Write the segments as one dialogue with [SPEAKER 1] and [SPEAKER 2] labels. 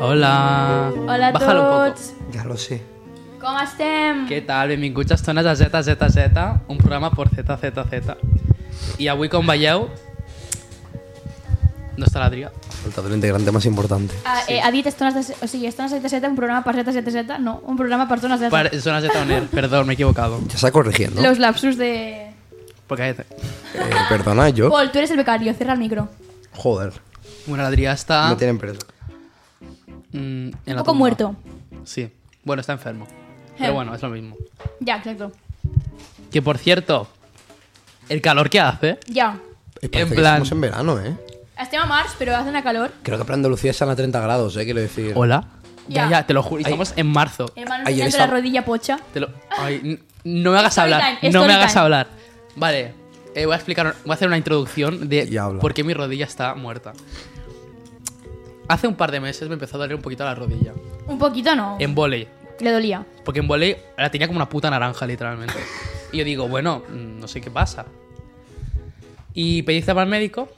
[SPEAKER 1] Hola.
[SPEAKER 2] Hola a
[SPEAKER 1] Bájalo un
[SPEAKER 2] tots.
[SPEAKER 1] poco.
[SPEAKER 3] Ja lo sé.
[SPEAKER 2] Com estem?
[SPEAKER 1] Què tal? Benvinguts a Estones a ZZZ, un programa por ZZZ. I avui, com veieu, no està l'Adrià.
[SPEAKER 3] Ha faltado el integrante más importante.
[SPEAKER 2] Ah, eh, ha dit estones de... se- O sigui, estones de Z, un programa per ZZZ, no, un programa per zones de...
[SPEAKER 1] Per, és una Z on era. Perdó, me he equivocado.
[SPEAKER 3] Ya está corrigiendo.
[SPEAKER 2] Los lapsus de...
[SPEAKER 1] Porque
[SPEAKER 3] Eh, perdona, yo.
[SPEAKER 2] Paul, tú eres el becario, cierra el micro.
[SPEAKER 3] Joder.
[SPEAKER 1] Bueno, l'Adrià està...
[SPEAKER 3] Me tienen preso.
[SPEAKER 1] mm, en la
[SPEAKER 2] Un
[SPEAKER 1] tumba.
[SPEAKER 2] poco muerto.
[SPEAKER 1] Sí. Bueno, está enfermo.
[SPEAKER 2] Eh.
[SPEAKER 1] Pero bueno, es lo mismo.
[SPEAKER 2] Ya, exacto.
[SPEAKER 1] Que por cierto, el calor que hace.
[SPEAKER 2] Ya.
[SPEAKER 3] Eh, parece
[SPEAKER 1] En
[SPEAKER 3] que
[SPEAKER 1] plan-
[SPEAKER 3] Estamos en verano, ¿eh?
[SPEAKER 2] Estem a març, però hace una calor.
[SPEAKER 3] Creo que para Andalucía están a 30 grados, ¿eh? Quiero decir.
[SPEAKER 1] Hola. Ya,
[SPEAKER 2] Ya.
[SPEAKER 1] ya, te lo juro. Estamos en marzo.
[SPEAKER 2] Hermano,
[SPEAKER 3] Ayer
[SPEAKER 2] enseñando
[SPEAKER 3] estaba-
[SPEAKER 2] Eh, la rodilla pocha.
[SPEAKER 1] Te lo- Ay, n- no me hagas
[SPEAKER 2] Story
[SPEAKER 1] hablar.
[SPEAKER 2] time,
[SPEAKER 1] No
[SPEAKER 2] story
[SPEAKER 1] me hagas
[SPEAKER 2] time.
[SPEAKER 1] hablar. Vale. eh, voy a explicar, voy a hacer una introducción de
[SPEAKER 3] Ya habla.
[SPEAKER 1] por qué mi rodilla está muerta. Hace un par de meses me empezó a doler un poquito la rodilla.
[SPEAKER 2] Un poquito no.
[SPEAKER 1] En volei.
[SPEAKER 2] Le dolía.
[SPEAKER 1] Porque en volei la tenía como una puta naranja, literalmente. Y yo digo, bueno, mm, no sé qué pasa. Y pedí cita para el médico.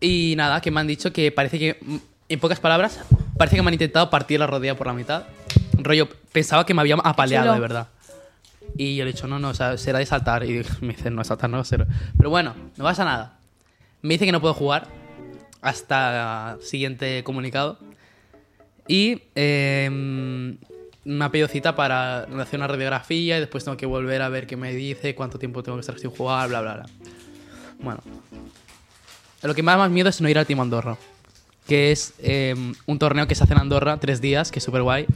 [SPEAKER 1] Y nada, que me han dicho que parece que, mm, en pocas palabras, parece que me han intentado partir la rodilla por la mitad. Rollo, pensaba que me habían apaleado,
[SPEAKER 2] Chulo.
[SPEAKER 1] de verdad. Y yo le he dicho, no, no, o sea, será de saltar. Y me dice, no, saltar no, será. Pero bueno, no pasa nada. Me dice que no puedo jugar hasta siguiente comunicado. Y eh, me ha pedido cita para hacer una radiografía y después tengo que volver a ver qué me dice, cuánto tiempo tengo que estar sin jugar, bla, bla, bla. Bueno. Lo que me da más miedo es no ir al Team Andorra, que es eh, un torneo que se hace en Andorra, tres días, que es súper guay.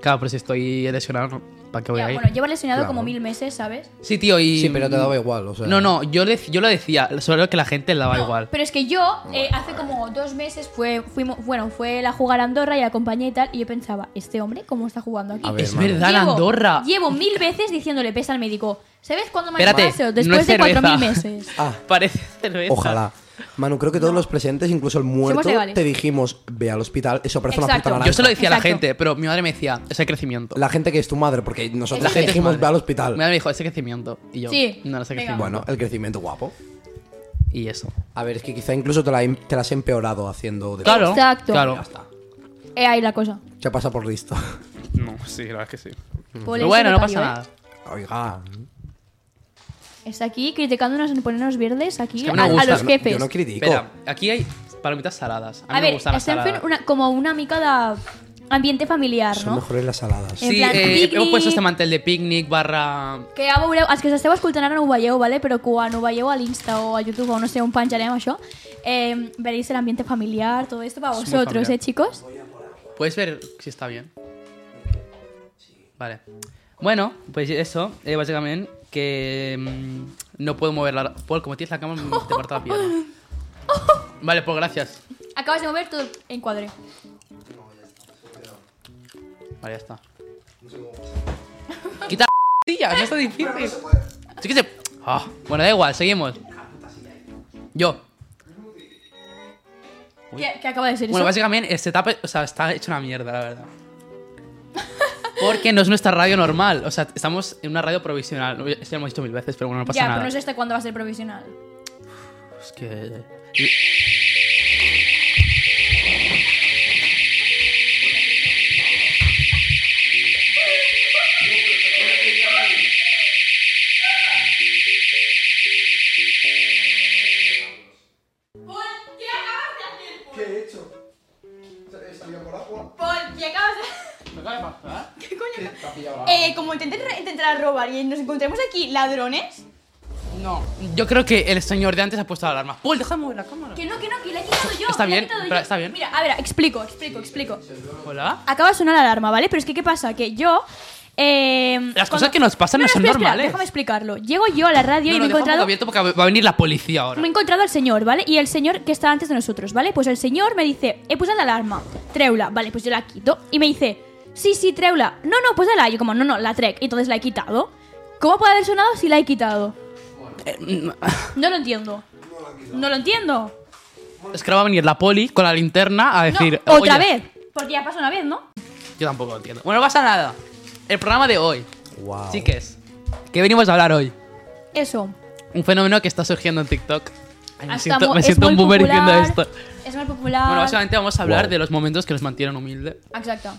[SPEAKER 1] Claro, pero si estoy lesionado, ¿no? ¿para qué voy
[SPEAKER 2] Ya,
[SPEAKER 1] a ir?
[SPEAKER 2] bueno, lleva lesionado
[SPEAKER 3] Claro.
[SPEAKER 2] como mil meses, ¿sabes?
[SPEAKER 1] Sí, tío, y...
[SPEAKER 3] Sí, pero te daba igual, o sea.
[SPEAKER 1] No, no, yo, le- yo lo decía, solo que la gente le daba igual.
[SPEAKER 2] Pero es que yo, eh, hace como dos meses, fue, fuimos, bueno, fue la jugar a Andorra y la acompañé y tal, y yo pensaba, ¿este hombre cómo está jugando aquí?
[SPEAKER 3] A ver,
[SPEAKER 1] Es
[SPEAKER 3] hermano.
[SPEAKER 1] verdad,
[SPEAKER 2] Llevo-
[SPEAKER 1] Andorra.
[SPEAKER 2] Llevo mil veces diciéndole pesa al médico. ¿Sabes cuándo me
[SPEAKER 1] Espérate,
[SPEAKER 2] paseo?
[SPEAKER 1] no
[SPEAKER 2] Después
[SPEAKER 1] es
[SPEAKER 2] de
[SPEAKER 1] cerveza.
[SPEAKER 2] cuatro mil meses.
[SPEAKER 3] Ah,
[SPEAKER 1] Parece cerveza.
[SPEAKER 3] ojalá. Manu, creo que todos los presentes, incluso el muerto,
[SPEAKER 2] legales.
[SPEAKER 3] te dijimos, ve al hospital, eso parece una
[SPEAKER 2] Exacto.
[SPEAKER 3] puta naranja.
[SPEAKER 1] Yo se lo decía a la
[SPEAKER 2] Exacto.
[SPEAKER 1] gente, pero mi madre me decía, ese crecimiento.
[SPEAKER 3] La gente que es tu madre, porque nosotros
[SPEAKER 2] La gente es
[SPEAKER 3] te dijimos,
[SPEAKER 1] madre.
[SPEAKER 3] ve al
[SPEAKER 1] Mi
[SPEAKER 3] hospital.
[SPEAKER 1] madre me dijo, ese crecimiento. Y yo,
[SPEAKER 2] Sí,
[SPEAKER 1] no, no sé
[SPEAKER 2] venga.
[SPEAKER 1] crecimiento.
[SPEAKER 3] Bueno, el crecimiento guapo.
[SPEAKER 1] Y eso.
[SPEAKER 3] A ver, es que quizá incluso te la, he- te la has empeorado haciendo. deporte.
[SPEAKER 1] Claro.
[SPEAKER 2] Exacto.
[SPEAKER 1] Claro.
[SPEAKER 3] Ya está.
[SPEAKER 2] Eh, ahí la cosa.
[SPEAKER 3] Se pasa por listo.
[SPEAKER 1] No, sí, la verdad es que sí.
[SPEAKER 2] Por
[SPEAKER 1] Mm. Pero
[SPEAKER 2] eso
[SPEAKER 1] bueno,
[SPEAKER 2] me
[SPEAKER 1] no
[SPEAKER 2] cayó,
[SPEAKER 1] pasa
[SPEAKER 2] ¿eh?
[SPEAKER 1] nada.
[SPEAKER 3] Oiga.
[SPEAKER 2] Está aquí criticándonos en ponernos verdes aquí
[SPEAKER 1] que a mí me
[SPEAKER 2] a, a
[SPEAKER 1] gusta,
[SPEAKER 2] los
[SPEAKER 1] no-
[SPEAKER 2] jefes.
[SPEAKER 3] Yo no critico.
[SPEAKER 1] Espera, aquí hay palomitas saladas. A mí
[SPEAKER 2] a
[SPEAKER 1] me
[SPEAKER 2] ver,
[SPEAKER 1] gustan las
[SPEAKER 2] estem
[SPEAKER 1] saladas.
[SPEAKER 2] fent una, como una mica de ambiente familiar,
[SPEAKER 3] Són
[SPEAKER 2] no?
[SPEAKER 3] mejores las saladas.
[SPEAKER 2] en
[SPEAKER 1] Sí,
[SPEAKER 2] plan,
[SPEAKER 1] eh,
[SPEAKER 2] picnic.
[SPEAKER 1] hemos puesto este mantel de picnic barra...
[SPEAKER 2] Que ja veureu, els que us esteu escoltant ara no ho veieu, vale? però quan ho veieu a l'Insta o a YouTube o no sé on penjarem això, eh, veréis el ambiente familiar, todo esto para
[SPEAKER 1] És molt
[SPEAKER 2] vosotros,
[SPEAKER 1] familiar.
[SPEAKER 2] eh, chicos?
[SPEAKER 1] ¿Puedes ver si está bien? Vale. Bueno, pues eso, eh, básicamente, que mm, no puedo mover la... Paul, como tienes la cama, me- te parto la pierna. Vale, pues gracias.
[SPEAKER 2] Acabas de mover todo el encuadre.
[SPEAKER 1] Vale, ya está. Quita la silla, no está difícil. Sí que se... Ah, bueno, da igual, seguimos. Yo.
[SPEAKER 2] ¿Qué, qué acaba de ser
[SPEAKER 1] Bueno,
[SPEAKER 2] eso?
[SPEAKER 1] básicamente, el setup, o sea, está hecho una mierda, la verdad. Porque no es nuestra radio normal. O sea, estamos en una radio provisional. Esto ya lo hemos dicho mil veces, pero bueno, no pasa
[SPEAKER 2] ya,
[SPEAKER 1] nada.
[SPEAKER 2] pero no sé hasta cuándo va a ser provisional.
[SPEAKER 1] Es que.
[SPEAKER 2] ¿Qué acabas de hacer? ¿Qué he hecho? ¿Salía por agua? Paul, ¿qué acabas de ¿Qué coño? Eh, como intenté re- intentar robar y nos encontremos aquí ladrones.
[SPEAKER 1] No, yo creo que el señor de antes ha puesto la alarma. Paul, déjame mover la cámara.
[SPEAKER 2] Que no, que no, que la he quitado yo.
[SPEAKER 1] Está
[SPEAKER 2] que la he
[SPEAKER 1] bien,
[SPEAKER 2] quitado
[SPEAKER 1] espera,
[SPEAKER 2] yo.
[SPEAKER 1] está bien.
[SPEAKER 2] Mira, a ver, explico, explico, explico.
[SPEAKER 1] Hola.
[SPEAKER 2] Acaba de sonar la alarma, ¿vale? Pero es que, ¿qué pasa? Que yo. eh,
[SPEAKER 1] Las cosas que nos pasan no son
[SPEAKER 2] espera, espera,
[SPEAKER 1] normales.
[SPEAKER 2] déjame explicarlo. Llego yo a la radio
[SPEAKER 1] No,
[SPEAKER 2] y
[SPEAKER 1] no, deja
[SPEAKER 2] me he
[SPEAKER 1] un poco
[SPEAKER 2] encontrado
[SPEAKER 1] abierto porque va a venir la policía ahora.
[SPEAKER 2] Me he encontrado al señor, ¿vale? Y el señor que estaba antes de nosotros, ¿vale? Pues el señor me dice, he puesto la alarma, treula, vale, pues yo la quito. Y me dice, sí, sí, treula, no, no, pues la, yo como, no, no, la trek, y entonces la he quitado. ¿Cómo puede haber sonado si la he quitado?
[SPEAKER 1] Eh,
[SPEAKER 2] No lo entiendo. No lo entiendo.
[SPEAKER 1] Es que ahora va a venir la poli con la linterna a
[SPEAKER 2] No,
[SPEAKER 1] decir.
[SPEAKER 2] otra
[SPEAKER 1] "Oye".
[SPEAKER 2] vez. Porque ya pasó una vez, ¿no?
[SPEAKER 1] Yo tampoco lo entiendo. Bueno, no pasa nada. El programa de hoy.
[SPEAKER 3] Wow.
[SPEAKER 1] Chiques, ¿qué venimos a hablar hoy?
[SPEAKER 2] Eso.
[SPEAKER 1] Un fenómeno que está surgiendo en TikTok. Ay, me
[SPEAKER 2] Hasta
[SPEAKER 1] siento,
[SPEAKER 2] mo-
[SPEAKER 1] me
[SPEAKER 2] Ah, es
[SPEAKER 1] siento
[SPEAKER 2] muy
[SPEAKER 1] un boomer
[SPEAKER 2] popular, Ah.
[SPEAKER 1] diciendo esto.
[SPEAKER 2] Es más popular.
[SPEAKER 1] Bueno, básicamente vamos a hablar
[SPEAKER 3] Wow.
[SPEAKER 1] de los momentos que nos mantienen humildes.
[SPEAKER 2] Exacto.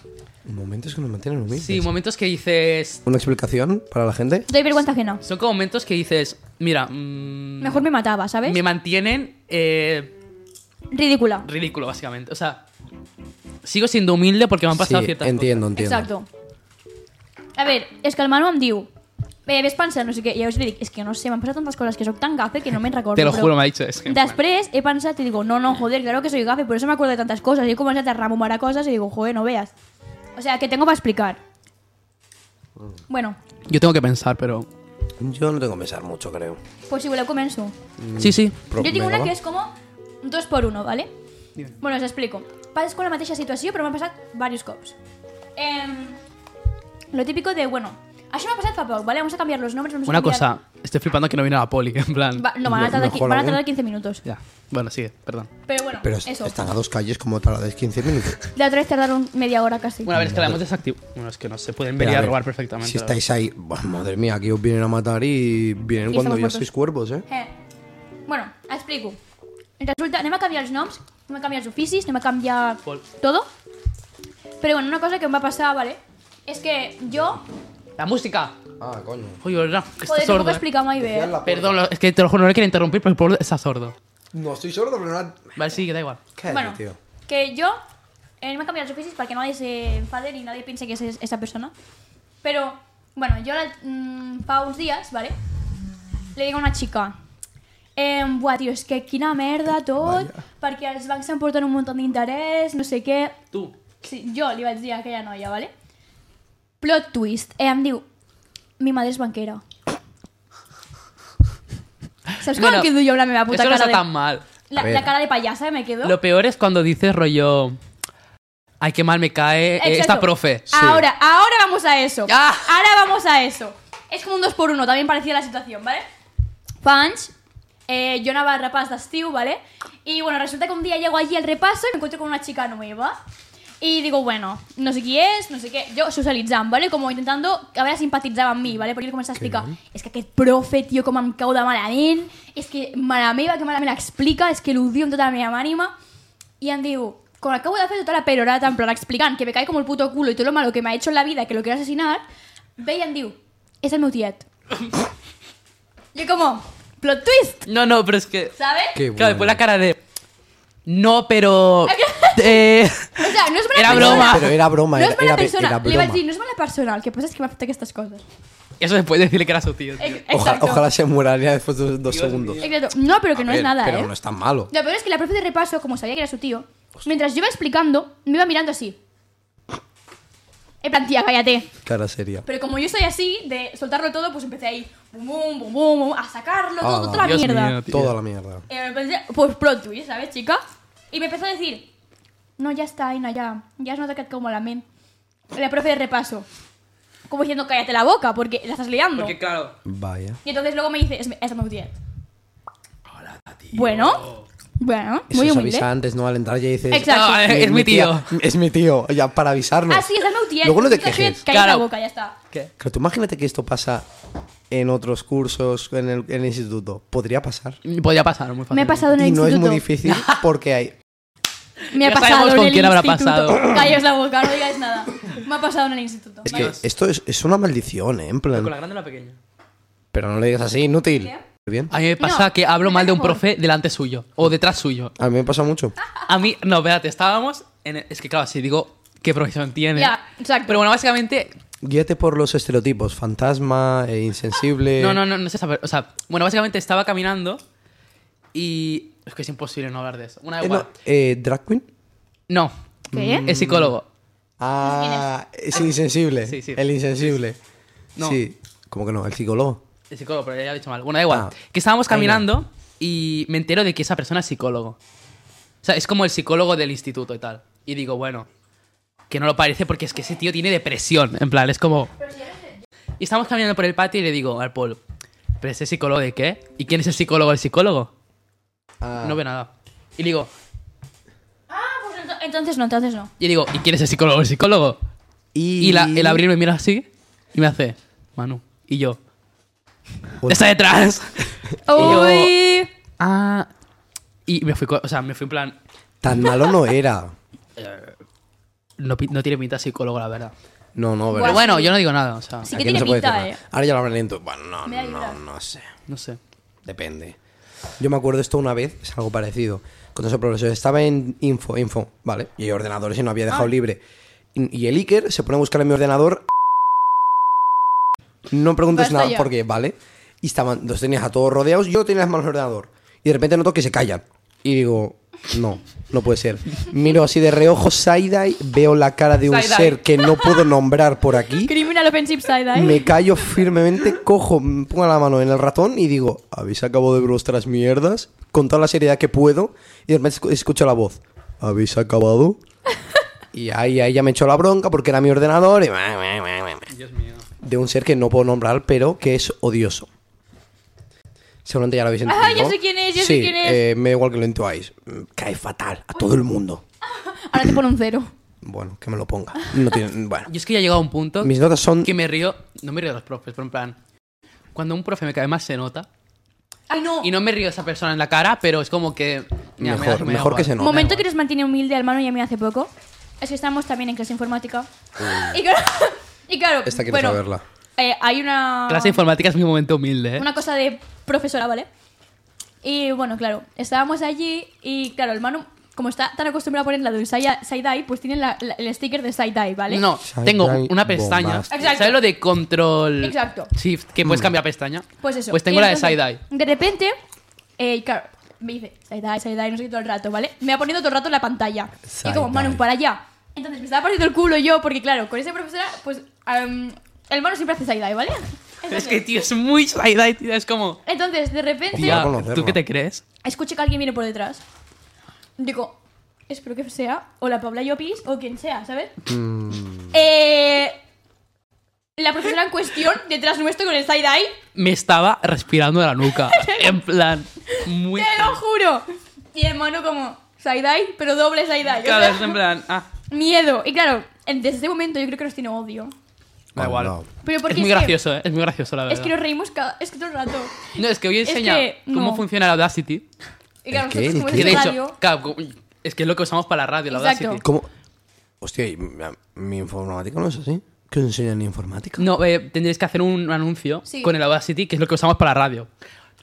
[SPEAKER 3] Momentos que nos mantienen humildes.
[SPEAKER 1] Sí, momentos que dices.
[SPEAKER 3] ¿Una explicación para la gente?
[SPEAKER 2] Doy vergüenza ajena.
[SPEAKER 1] Son como momentos que dices, mira, mm,
[SPEAKER 2] Mejor me mataba, ¿sabes?
[SPEAKER 1] me mantienen eh,
[SPEAKER 2] Ridícula.
[SPEAKER 1] ridículo, básicamente. O sea, sigo siendo humilde porque me han pasado
[SPEAKER 3] sí,
[SPEAKER 1] ciertas
[SPEAKER 3] entiendo, entiendo.
[SPEAKER 2] Exacto. A ver, és que el Manu em diu eh, ves pensant, no sé què, i llavors li dic, és que no sé, m'han passat tantes coses que sóc tan gafe que no me'n recordo.
[SPEAKER 1] Te lo
[SPEAKER 2] però
[SPEAKER 1] juro, me ha em dicho eso.
[SPEAKER 2] Després he pensat i digo, no, no, joder, claro que soy gafe, por eso me acuerdo de tantas cosas. Y he començat a rememorar coses i digo, joder, no veas. O sea, que tengo para explicar. Bueno,
[SPEAKER 1] Yo tengo que pensar, pero.
[SPEAKER 3] Yo no tengo que pensar mucho, creo.
[SPEAKER 2] pues si voleu començo.
[SPEAKER 3] Mm.
[SPEAKER 1] Sí, sí.
[SPEAKER 3] Però
[SPEAKER 2] jo tinc
[SPEAKER 3] vinga,
[SPEAKER 2] una
[SPEAKER 3] va.
[SPEAKER 2] que és com dos por uno, ¿vale? Bueno, us explico. Passes con la mateixa situació, però m'ha passat diversos cops. Em, lo típico de, bueno, això m'ha passat fa poc, ¿vale? Vamos a cambiar los nombres. Vamos a
[SPEAKER 1] Una
[SPEAKER 2] cambiar-
[SPEAKER 1] cosa, estoy flipando que no viene la poli, en plan.
[SPEAKER 2] Va- no, van a,
[SPEAKER 3] Lo-
[SPEAKER 2] tardar, qui-
[SPEAKER 3] mejor
[SPEAKER 2] van a
[SPEAKER 3] aún.
[SPEAKER 2] tardar 15 minutos.
[SPEAKER 1] Ya. Bueno, sigue, perdón.
[SPEAKER 2] Pero bueno,
[SPEAKER 3] Pero es-
[SPEAKER 2] eso.
[SPEAKER 3] están a dos calles como tardáis 15 minutos.
[SPEAKER 2] La otra vez tardaron media hora casi.
[SPEAKER 1] Bueno, a ver, es que la hemos desactivado. Bueno, es que no se pueden
[SPEAKER 3] Pero,
[SPEAKER 1] venir a
[SPEAKER 3] ver,
[SPEAKER 1] robar perfectamente.
[SPEAKER 3] Si
[SPEAKER 1] la verdad.
[SPEAKER 3] estáis ahí, buah, madre mía, aquí os vienen a matar y vienen
[SPEAKER 2] Y
[SPEAKER 3] cuando
[SPEAKER 2] estamos
[SPEAKER 3] ya
[SPEAKER 2] muertos.
[SPEAKER 3] sois cuerpos, ¿eh?
[SPEAKER 2] Eh, bueno, explico. Resulta, anem a canviar els noms, anem a canviar els oficis, anem a canviar
[SPEAKER 1] Pol.
[SPEAKER 2] todo. Però bueno, una cosa que em va passar, vale, és que jo...
[SPEAKER 1] ¡La música!
[SPEAKER 3] Ah, coño.
[SPEAKER 2] Eh,
[SPEAKER 1] Oye, ¿verdad? Que
[SPEAKER 2] Joder,
[SPEAKER 1] está
[SPEAKER 2] no
[SPEAKER 1] sordo.
[SPEAKER 2] puc
[SPEAKER 1] eh.
[SPEAKER 2] explicar mai bé. eh?
[SPEAKER 1] Perdón, lo- es que te lo juro, no le quiero interrumpir, pero el pueblo está sordo.
[SPEAKER 3] No estoy sordo, pero no.
[SPEAKER 1] Vale, sí, que da igual.
[SPEAKER 3] Cállate,
[SPEAKER 2] bueno,
[SPEAKER 3] tío.
[SPEAKER 2] que yo eh, no me he cambiado los oficios para que nadie se enfade ni nadie piense que es es- esa persona. Pero, bueno, yo la, mm, fa uns días, ¿vale? Le digo a una chica, eh, buah, tio, és que quina merda tot, perquè els bancs s'emporten un munt d'interès, no sé què...
[SPEAKER 1] Tú.
[SPEAKER 2] Sí, jo li vaig dir a aquella noia, ¿vale? Plot twist. Eh, em diu, mi madre és banquera. Saps com
[SPEAKER 1] Bueno,
[SPEAKER 2] em quedo jo amb la meva puta
[SPEAKER 1] Eso no
[SPEAKER 2] cara
[SPEAKER 1] está
[SPEAKER 2] de...
[SPEAKER 1] tan mal.
[SPEAKER 2] La,
[SPEAKER 3] A ver.
[SPEAKER 2] la cara de payasa me quedo.
[SPEAKER 1] Lo peor es cuando dices rollo. Ay, qué mal me cae eh,
[SPEAKER 2] Exacto.
[SPEAKER 1] esta profe.
[SPEAKER 2] Ahora, ahora vamos a eso.
[SPEAKER 1] Ah.
[SPEAKER 2] Ahora vamos a eso. Es como un 2 por 1 también parecía la situación, ¿vale? Fans, eh, yo anava al repàs d'estiu, ¿vale? Y bueno, resulta que un día llego allí al repaso y me encuentro con una chica nueva. Y digo, bueno, no sé qui és, no sé què... Jo socialitzant, ¿vale? Como intentando a veure si empatitzava amb mi, ¿vale? Perquè li comença a explicar... És que aquest profe, tio, com em cau de malament... És que mare meva, que malament explica... És que l'odio amb tota la meva ànima... Y em diu, con acabo de fer tota la perorata, en plan explicant que me cae como el puto culo y todo lo malo que me ha hecho en la vida, que lo quiero asesinar, ve i em diu, és el meu tiet. jo com, plot twist,
[SPEAKER 1] No, no, pero es que.
[SPEAKER 2] ¿sabes?
[SPEAKER 3] Qué
[SPEAKER 1] Claro, después la cara de. No, pero. eh,
[SPEAKER 2] O sea, no és mala
[SPEAKER 1] Era
[SPEAKER 2] persona.
[SPEAKER 1] broma.
[SPEAKER 3] Pero era broma,
[SPEAKER 2] No és
[SPEAKER 3] era-
[SPEAKER 2] mala
[SPEAKER 3] era-
[SPEAKER 2] persona.
[SPEAKER 3] era
[SPEAKER 2] Li vaig
[SPEAKER 3] broma.
[SPEAKER 2] dir, no és mala persona, el que passa és que m'ha fet aquestes coses.
[SPEAKER 1] Eso después de decirle que era su tío. tío.
[SPEAKER 2] Ex-
[SPEAKER 3] Oja-
[SPEAKER 2] Exacto.
[SPEAKER 3] ojalá se muera ya después de dos
[SPEAKER 1] Dios
[SPEAKER 3] segundos.
[SPEAKER 2] Exacto. No, pero que
[SPEAKER 3] A
[SPEAKER 2] no
[SPEAKER 3] ver,
[SPEAKER 2] es nada,
[SPEAKER 3] pero
[SPEAKER 2] ¿eh?
[SPEAKER 3] no es tan malo.
[SPEAKER 2] Lo peor es que la profe de repaso, como sabía que era su tío, mientras yo iba explicando, me iba mirando así. En plan, tía, cállate.
[SPEAKER 3] Cara seria.
[SPEAKER 2] Pero como yo soy así, de soltarlo todo, pues empecé ahí, bum, bum, bum, bum, bum, a sacarlo
[SPEAKER 3] Ah,
[SPEAKER 2] todo, toda la
[SPEAKER 1] Dios
[SPEAKER 2] mierda.
[SPEAKER 1] mío, tío.
[SPEAKER 3] Toda la mierda.
[SPEAKER 2] Y me empecé, pues plot twist, ¿sabes, chica? Y me empezó a decir, no, ya está, Aina, ya, ya has notado que et como la men. La profe de repaso. Como diciendo, cállate la boca, porque la estás liando.
[SPEAKER 1] Porque, claro.
[SPEAKER 3] Vaya.
[SPEAKER 2] Y entonces luego me dice, es, es meu tiet. Bueno, bueno,
[SPEAKER 3] Eso
[SPEAKER 2] muy
[SPEAKER 3] se
[SPEAKER 2] humilde.
[SPEAKER 3] avisa antes, ¿no? Al entrar ya dices...
[SPEAKER 2] Exacto.
[SPEAKER 1] No, eh, es mi tío.
[SPEAKER 3] tía- Es mi tío. Ya, para avisarnos.
[SPEAKER 2] Ah, sí, es el meu tiet.
[SPEAKER 3] Luego no te
[SPEAKER 2] Chica,
[SPEAKER 3] quejes.
[SPEAKER 2] Cállate
[SPEAKER 1] Claro.
[SPEAKER 2] la boca, ya está.
[SPEAKER 1] ¿Qué?
[SPEAKER 3] Claro, tú imagínate que esto pasa en otros cursos, en el, en el instituto. Podría pasar.
[SPEAKER 1] Podía pasar, muy fácil.
[SPEAKER 2] Me he pasado en el
[SPEAKER 3] y no
[SPEAKER 2] instituto.
[SPEAKER 3] es muy difícil porque hay...
[SPEAKER 2] Me ha
[SPEAKER 1] Ya
[SPEAKER 2] pasado
[SPEAKER 1] sabemos
[SPEAKER 2] en
[SPEAKER 1] con
[SPEAKER 2] el
[SPEAKER 1] quién habrá
[SPEAKER 2] instituto.
[SPEAKER 1] pasado.
[SPEAKER 2] Callaos la boca, no digáis nada. Me ha pasado en el instituto.
[SPEAKER 3] Es que
[SPEAKER 2] Vale.
[SPEAKER 3] esto es, es una maldición, ¿eh? En
[SPEAKER 1] ¿Con la
[SPEAKER 3] plan...
[SPEAKER 1] grande o la pequeña?
[SPEAKER 3] Pero no le digas así, inútil.
[SPEAKER 2] ¿Qué?
[SPEAKER 3] Bien.
[SPEAKER 1] A mí me pasa
[SPEAKER 2] No,
[SPEAKER 1] que hablo
[SPEAKER 2] me
[SPEAKER 1] mal de un
[SPEAKER 2] parece
[SPEAKER 1] profe delante suyo o detrás suyo.
[SPEAKER 3] A mí me pasa mucho.
[SPEAKER 2] Ah.
[SPEAKER 1] A mí, no, espérate, estábamos en. el- es que, claro, si digo qué profesión tiene.
[SPEAKER 2] Ya, exacto.
[SPEAKER 1] Pero bueno, básicamente.
[SPEAKER 3] Guíate por los estereotipos. Fantasma, eh, insensible...
[SPEAKER 1] No, no, no, no sé saber. O sea, bueno, básicamente estaba caminando y. Es que es imposible no hablar de eso. Una
[SPEAKER 3] Eh,
[SPEAKER 1] vez.
[SPEAKER 3] no, eh, ¿Drag queen?
[SPEAKER 1] No,
[SPEAKER 2] ¿Qué?
[SPEAKER 1] es psicólogo.
[SPEAKER 3] Ah, es insensible.
[SPEAKER 1] Sí, sí.
[SPEAKER 3] El insensible.
[SPEAKER 1] No.
[SPEAKER 3] Sí. ¿Cómo que no? El psicólogo.
[SPEAKER 1] El psicólogo, pero ya lo he dicho mal. Bueno, da igual.
[SPEAKER 3] Ah.
[SPEAKER 1] Que estábamos
[SPEAKER 3] Ay, no.
[SPEAKER 1] caminando y me entero de que esa persona es psicólogo. O sea, es como el psicólogo del instituto y tal. Y digo, bueno, que no lo parece porque es que ese tío tiene depresión. En plan, es como... Y estamos caminando por el patio y le digo al Paul, ¿pero ese psicólogo de qué? ¿Y quién es el psicólogo del psicólogo?
[SPEAKER 3] Ah.
[SPEAKER 1] No ve nada. Y le digo,
[SPEAKER 2] Ah, pues ento- entonces no, entonces no.
[SPEAKER 1] y digo, ¿y quién es el psicólogo del psicólogo? Y, la- el abril me mira así y me hace, Manu. Y yo,
[SPEAKER 3] Uy.
[SPEAKER 1] está detrás. Y yo,
[SPEAKER 2] Uy.
[SPEAKER 1] Ah, Y me fui, co- o sea, me fui en plan,
[SPEAKER 3] Tan malo no era.
[SPEAKER 1] no, pi- no tiene pinta de psicólogo, la verdad.
[SPEAKER 3] No, no,
[SPEAKER 1] Pero
[SPEAKER 3] pero.
[SPEAKER 1] bueno, yo no digo nada, o sea,
[SPEAKER 2] Sí. que
[SPEAKER 3] aquí no
[SPEAKER 2] tiene
[SPEAKER 3] se puede
[SPEAKER 2] pinta,
[SPEAKER 3] decir nada.
[SPEAKER 2] eh.
[SPEAKER 3] Ahora ya lo hablan lento. Bueno, no,
[SPEAKER 2] Me ayuda.
[SPEAKER 3] no, no sé.
[SPEAKER 1] no sé.
[SPEAKER 3] Depende. Yo me acuerdo esto una vez, es algo parecido. Cuando ese profesor estaba en info, info, ¿vale? Y hay ordenadores y no había
[SPEAKER 4] Ah.
[SPEAKER 3] dejado libre. Y, y el Iker se pone a buscar en mi ordenador. No preguntes
[SPEAKER 4] Basta
[SPEAKER 3] nada
[SPEAKER 4] ya.
[SPEAKER 3] porque, ¿vale? Y estaban, los tenías a todos rodeados, yo tenía las manos en el ordenador. Y de repente noto que se callan. Y digo, no, no puede ser. Miro así de reojo side-eye, veo la cara de un
[SPEAKER 4] Side-eye.
[SPEAKER 3] ser que no puedo nombrar por aquí.
[SPEAKER 2] Criminal Offensive ¿eh? Side-Eye.
[SPEAKER 3] Me callo firmemente, cojo, me pongo la mano en el ratón y digo, habéis acabado de ver vuestras mierdas, con toda la seriedad que puedo, y de repente escu- escucho la voz, ¿habéis acabado? Y ahí, ahí ya me echó la bronca porque era mi ordenador y... De un ser que no puedo nombrar, pero que es odioso. Seguramente ya lo habéis entendido.
[SPEAKER 2] Ah, ya sé quién es, ya sé
[SPEAKER 3] Sí,
[SPEAKER 2] quién es.
[SPEAKER 3] eh, me da igual que lo intuáis. Mm, Cae fatal a todo el mundo.
[SPEAKER 4] Ahora te pone un cero.
[SPEAKER 3] Bueno, que me lo ponga. No tiene- bueno.
[SPEAKER 1] Yo es que ya he llegado a un punto
[SPEAKER 3] Mis notas son...
[SPEAKER 1] que me río, no me río de los profes, pero en plan, cuando un profe me cae más se nota.
[SPEAKER 4] Ay, no.
[SPEAKER 1] Y no me río de esa persona en la cara, pero es como que... mira, me
[SPEAKER 3] Mejor-
[SPEAKER 1] da- me da
[SPEAKER 3] mejor que
[SPEAKER 1] igual.
[SPEAKER 3] se note.
[SPEAKER 2] Momento
[SPEAKER 1] da
[SPEAKER 2] que
[SPEAKER 1] igual.
[SPEAKER 2] nos mantiene humilde al mano y a mí hace poco. Es que estamos también en clase informática. Y claro, y claro
[SPEAKER 3] Esta quiero
[SPEAKER 2] bueno,
[SPEAKER 3] saberla.
[SPEAKER 2] eh, hay una,
[SPEAKER 1] Clase de informática es mi momento humilde, ¿eh?
[SPEAKER 2] una cosa de profesora, ¿vale? Y bueno, claro, estábamos allí y claro, el Manu, como está tan acostumbrado a poner la del side- side-eye, pues tiene la- la- el sticker de side-eye, ¿vale?
[SPEAKER 1] No,
[SPEAKER 3] Side
[SPEAKER 1] tengo
[SPEAKER 3] eye
[SPEAKER 1] una pestaña.
[SPEAKER 3] bombast.
[SPEAKER 2] Exacto.
[SPEAKER 1] ¿Sabes lo de control
[SPEAKER 2] Exacto.
[SPEAKER 1] shift? Que
[SPEAKER 3] Mm.
[SPEAKER 1] puedes cambiar pestaña.
[SPEAKER 2] Pues eso.
[SPEAKER 1] Pues tengo
[SPEAKER 2] Y
[SPEAKER 1] la de
[SPEAKER 2] entonces,
[SPEAKER 1] side eye.
[SPEAKER 2] De repente, eh, claro, me dice side-eye, side-eye, no sé qué todo el rato, ¿vale? Me va poniendo todo el rato en la pantalla. y como,
[SPEAKER 3] Side-eye.
[SPEAKER 2] Manu, para allá. Entonces me estaba partiendo el culo yo, porque claro, con esa profesora, pues am, el Manu siempre hace side-eye, ¿vale?
[SPEAKER 1] Es
[SPEAKER 2] Entonces,
[SPEAKER 1] que, tío, es muy side eye, tío. Es como.
[SPEAKER 2] entonces, de repente,
[SPEAKER 3] Tía.
[SPEAKER 1] Tía,
[SPEAKER 3] conocerlo.
[SPEAKER 1] ¿tú qué te crees?
[SPEAKER 2] escucho que alguien viene por detrás. Digo, espero que sea o la Paula Llopis o quien sea, ¿sabes?
[SPEAKER 3] Mm.
[SPEAKER 2] Eh, la profesora en cuestión, detrás nuestro con el side-eye,
[SPEAKER 1] Me estaba respirando de la nuca. en plan, muy.
[SPEAKER 2] ¡Te lo juro! Y el mono como side-eye, pero doble side-eye. o
[SPEAKER 1] Claro,
[SPEAKER 2] sea,
[SPEAKER 1] es en plan. Ah,
[SPEAKER 2] miedo. Y claro, en- desde ese momento yo creo que nos tiene odio.
[SPEAKER 1] da
[SPEAKER 3] Oh,
[SPEAKER 1] igual.
[SPEAKER 3] no.
[SPEAKER 2] Pero porque
[SPEAKER 1] es muy
[SPEAKER 2] que-
[SPEAKER 1] gracioso, ¿eh? Es muy gracioso, la verdad.
[SPEAKER 2] es que nos reímos cada, es que todo el rato.
[SPEAKER 1] No, es que voy a
[SPEAKER 2] es
[SPEAKER 1] enseñar
[SPEAKER 2] que no.
[SPEAKER 1] cómo funciona la Audacity.
[SPEAKER 2] Y claro,
[SPEAKER 3] ¿El qué?
[SPEAKER 2] nosotros como
[SPEAKER 3] ¿El
[SPEAKER 1] Que
[SPEAKER 2] es
[SPEAKER 1] de
[SPEAKER 3] qué?
[SPEAKER 2] radio,
[SPEAKER 1] hecho, claro, como- es que es lo que usamos para la radio, la
[SPEAKER 2] Exacto.
[SPEAKER 1] Audacity.
[SPEAKER 3] ¿Cómo? Hostia, ¿y mi, mi informática no es así. ¿Qué os enseñan en informática?
[SPEAKER 1] No, eh, tendréis que hacer un anuncio
[SPEAKER 2] Sí.
[SPEAKER 1] con el Audacity, que es lo que usamos para la radio.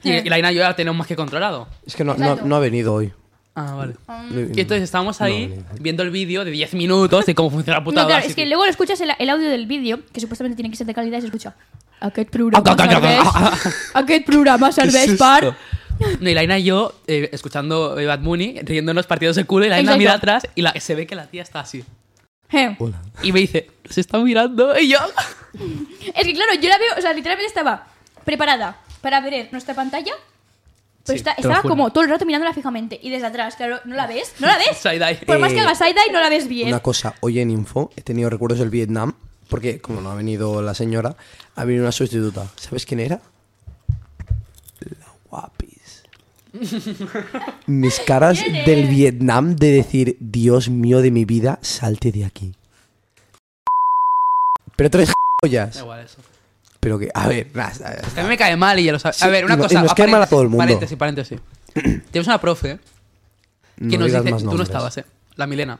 [SPEAKER 1] Y,
[SPEAKER 2] Eh.
[SPEAKER 1] y la Ina y yo ya la tenemos más que controlado.
[SPEAKER 3] Es que no, no,
[SPEAKER 2] Exacto.
[SPEAKER 3] no ha venido hoy.
[SPEAKER 1] Ah, vale.
[SPEAKER 3] No he
[SPEAKER 1] Y
[SPEAKER 3] venido.
[SPEAKER 1] entonces estábamos ahí
[SPEAKER 3] No, no.
[SPEAKER 1] viendo el vídeo de 10 minutos de cómo funciona la puta
[SPEAKER 2] No, claro,
[SPEAKER 1] Audacity.
[SPEAKER 2] es que luego lo escuchas el, el audio del vídeo, que supuestamente tiene que ser de calidad, y se escucha. Aquest programa
[SPEAKER 1] Ah, ah, ah,
[SPEAKER 2] serveix...
[SPEAKER 1] ah,
[SPEAKER 2] Aquest programa serveix per...
[SPEAKER 1] No, y la Ina y yo eh, escuchando eh, Bad Bunny, riéndonos partidos de culo, y la Ina
[SPEAKER 2] Exacto.
[SPEAKER 1] mira atrás y la- se ve que la tía está así.
[SPEAKER 2] Eh.
[SPEAKER 3] Hola.
[SPEAKER 1] Y me dice, se está mirando. Y yo.
[SPEAKER 2] Es que claro, yo la veo, o sea, literalmente estaba preparada para ver nuestra pantalla, pero
[SPEAKER 1] Sí,
[SPEAKER 2] esta-
[SPEAKER 1] te lo
[SPEAKER 2] estaba
[SPEAKER 1] juro.
[SPEAKER 2] como todo el rato mirándola fijamente y desde atrás, claro, ¿no la ves? ¿No la ves?
[SPEAKER 1] Side-eye.
[SPEAKER 2] Por más que
[SPEAKER 3] Eh,
[SPEAKER 2] hagas side-eye, no la ves bien.
[SPEAKER 3] Una cosa, hoy en info he tenido recuerdos del Vietnam, porque como no ha venido la señora, ha venido una sustituta. ¿Sabes quién era? La guapis. Mis caras
[SPEAKER 2] ¿Quién es?
[SPEAKER 3] del Vietnam de decir, Dios mío de mi vida, salte de aquí. Pero tres
[SPEAKER 1] Da
[SPEAKER 3] joyas.
[SPEAKER 1] igual eso.
[SPEAKER 3] Pero que, a ver, nas- a ver,
[SPEAKER 1] Que a mí me cae mal y ya lo sabes.
[SPEAKER 3] Sí,
[SPEAKER 1] a ver, una
[SPEAKER 3] y no-
[SPEAKER 1] cosa.
[SPEAKER 3] y nos cae mal a todo el mundo.
[SPEAKER 1] Paréntesis, paréntesis. Tenemos una profe que nos
[SPEAKER 3] digas
[SPEAKER 1] dice.
[SPEAKER 3] más
[SPEAKER 1] Tú no
[SPEAKER 3] nombres.
[SPEAKER 1] estabas, ¿eh? La Milena.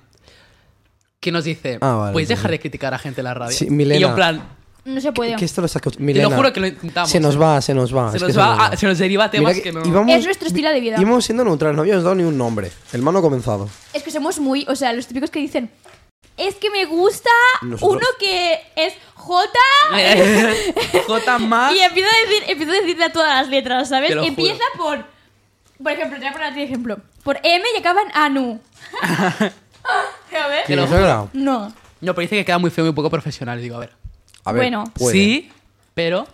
[SPEAKER 1] Que nos dice.
[SPEAKER 3] Ah, vale,
[SPEAKER 1] Puedes dejar
[SPEAKER 3] vale.
[SPEAKER 1] de criticar a gente en la radio.
[SPEAKER 3] Sí, Milena.
[SPEAKER 1] Y yo, en plan.
[SPEAKER 2] No se puede.
[SPEAKER 3] Que esto lo sacó
[SPEAKER 1] Te
[SPEAKER 3] Milena.
[SPEAKER 1] lo juro que lo intentamos. ¿eh?
[SPEAKER 3] Se nos va, se nos va.
[SPEAKER 1] Se
[SPEAKER 3] es
[SPEAKER 1] nos
[SPEAKER 3] que
[SPEAKER 1] va. ah, se nos deriva
[SPEAKER 3] Mira
[SPEAKER 1] temas
[SPEAKER 3] que
[SPEAKER 1] que, no.
[SPEAKER 3] íbamos-
[SPEAKER 2] Es nuestro estilo de vida.
[SPEAKER 3] Íbamos siendo neutrales, no habíamos dado ni un nombre. El mano ha comenzado.
[SPEAKER 2] Es que somos muy, o sea, los típicos que dicen, es que me gusta
[SPEAKER 3] Nosotros-
[SPEAKER 2] uno que es J
[SPEAKER 1] Eh, J más.
[SPEAKER 2] y empiezo a, decir, empiezo a decirle a todas las letras, ¿sabes?
[SPEAKER 1] Ah. Te lo
[SPEAKER 2] Empieza por, por ejemplo, te voy a poner a ti de ejemplo, por M y acaba en ANU. a ver.
[SPEAKER 1] Que lo
[SPEAKER 3] ¿Tienes
[SPEAKER 1] juro.
[SPEAKER 3] verdad?
[SPEAKER 2] No.
[SPEAKER 1] No, pero dice que queda muy feo y muy poco profesional. Y digo, a ver.
[SPEAKER 3] A ver,
[SPEAKER 2] Bueno.
[SPEAKER 3] puede.
[SPEAKER 1] Sí, pero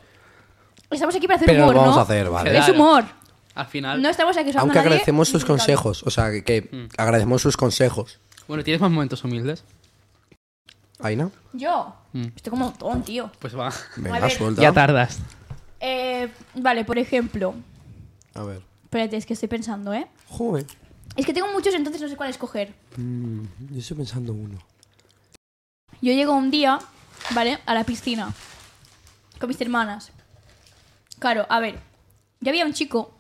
[SPEAKER 2] Estamos aquí para hacer
[SPEAKER 3] Pero
[SPEAKER 2] humor,
[SPEAKER 3] lo vamos
[SPEAKER 2] ¿no?
[SPEAKER 3] a hacer, vale.
[SPEAKER 1] Claro.
[SPEAKER 2] Es humor.
[SPEAKER 1] al final.
[SPEAKER 2] No estamos aquí usando
[SPEAKER 3] Aunque agradecemos sus consejos, o sea, que, que
[SPEAKER 1] Mm.
[SPEAKER 3] agradecemos sus consejos.
[SPEAKER 1] Bueno, ¿tienes más momentos humildes?
[SPEAKER 3] Aina,
[SPEAKER 2] Yo.
[SPEAKER 1] Mm.
[SPEAKER 2] Estoy como un montón, tío.
[SPEAKER 1] Pues va.
[SPEAKER 2] A
[SPEAKER 3] venga,
[SPEAKER 2] ver.
[SPEAKER 3] suelta.
[SPEAKER 1] Ya tardas.
[SPEAKER 2] Eh, vale, por ejemplo.
[SPEAKER 3] A ver.
[SPEAKER 2] Espérate, es que estoy pensando, ¿eh?
[SPEAKER 3] Joder,
[SPEAKER 2] Es que tengo muchos, entonces no sé cuál escoger.
[SPEAKER 3] yo estoy pensando uno.
[SPEAKER 2] Yo llego un día, ¿vale? A la piscina. Con mis hermanas. Claro, a ver. Yo había un chico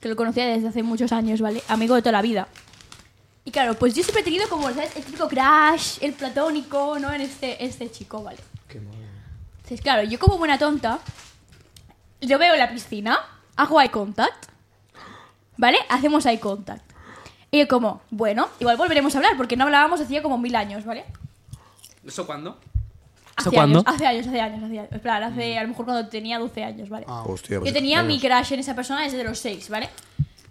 [SPEAKER 2] que lo conocía desde hace muchos años, ¿vale? Amigo de toda la vida. Y claro, pues yo siempre he tenido como, ¿sabes? El típico crash, el platónico, ¿no? En este, este chico, ¿vale? Entonces, claro, yo como buena tonta, yo veo la piscina, hago eye contact, ¿vale? Hacemos eye contact. Y yo como, bueno, igual volveremos a hablar, porque no hablábamos hacía como mil años, ¿vale?
[SPEAKER 1] ¿Eso cuándo?
[SPEAKER 2] Hace
[SPEAKER 1] ¿Eso cuándo?
[SPEAKER 2] años, hace años, hace años, hace años. En plan, hace, a lo mejor cuando tenía 12 años, ¿vale?
[SPEAKER 3] Hostia, pues
[SPEAKER 2] Yo tenía
[SPEAKER 3] claro.
[SPEAKER 2] mi crush en esa persona desde los 6, ¿vale?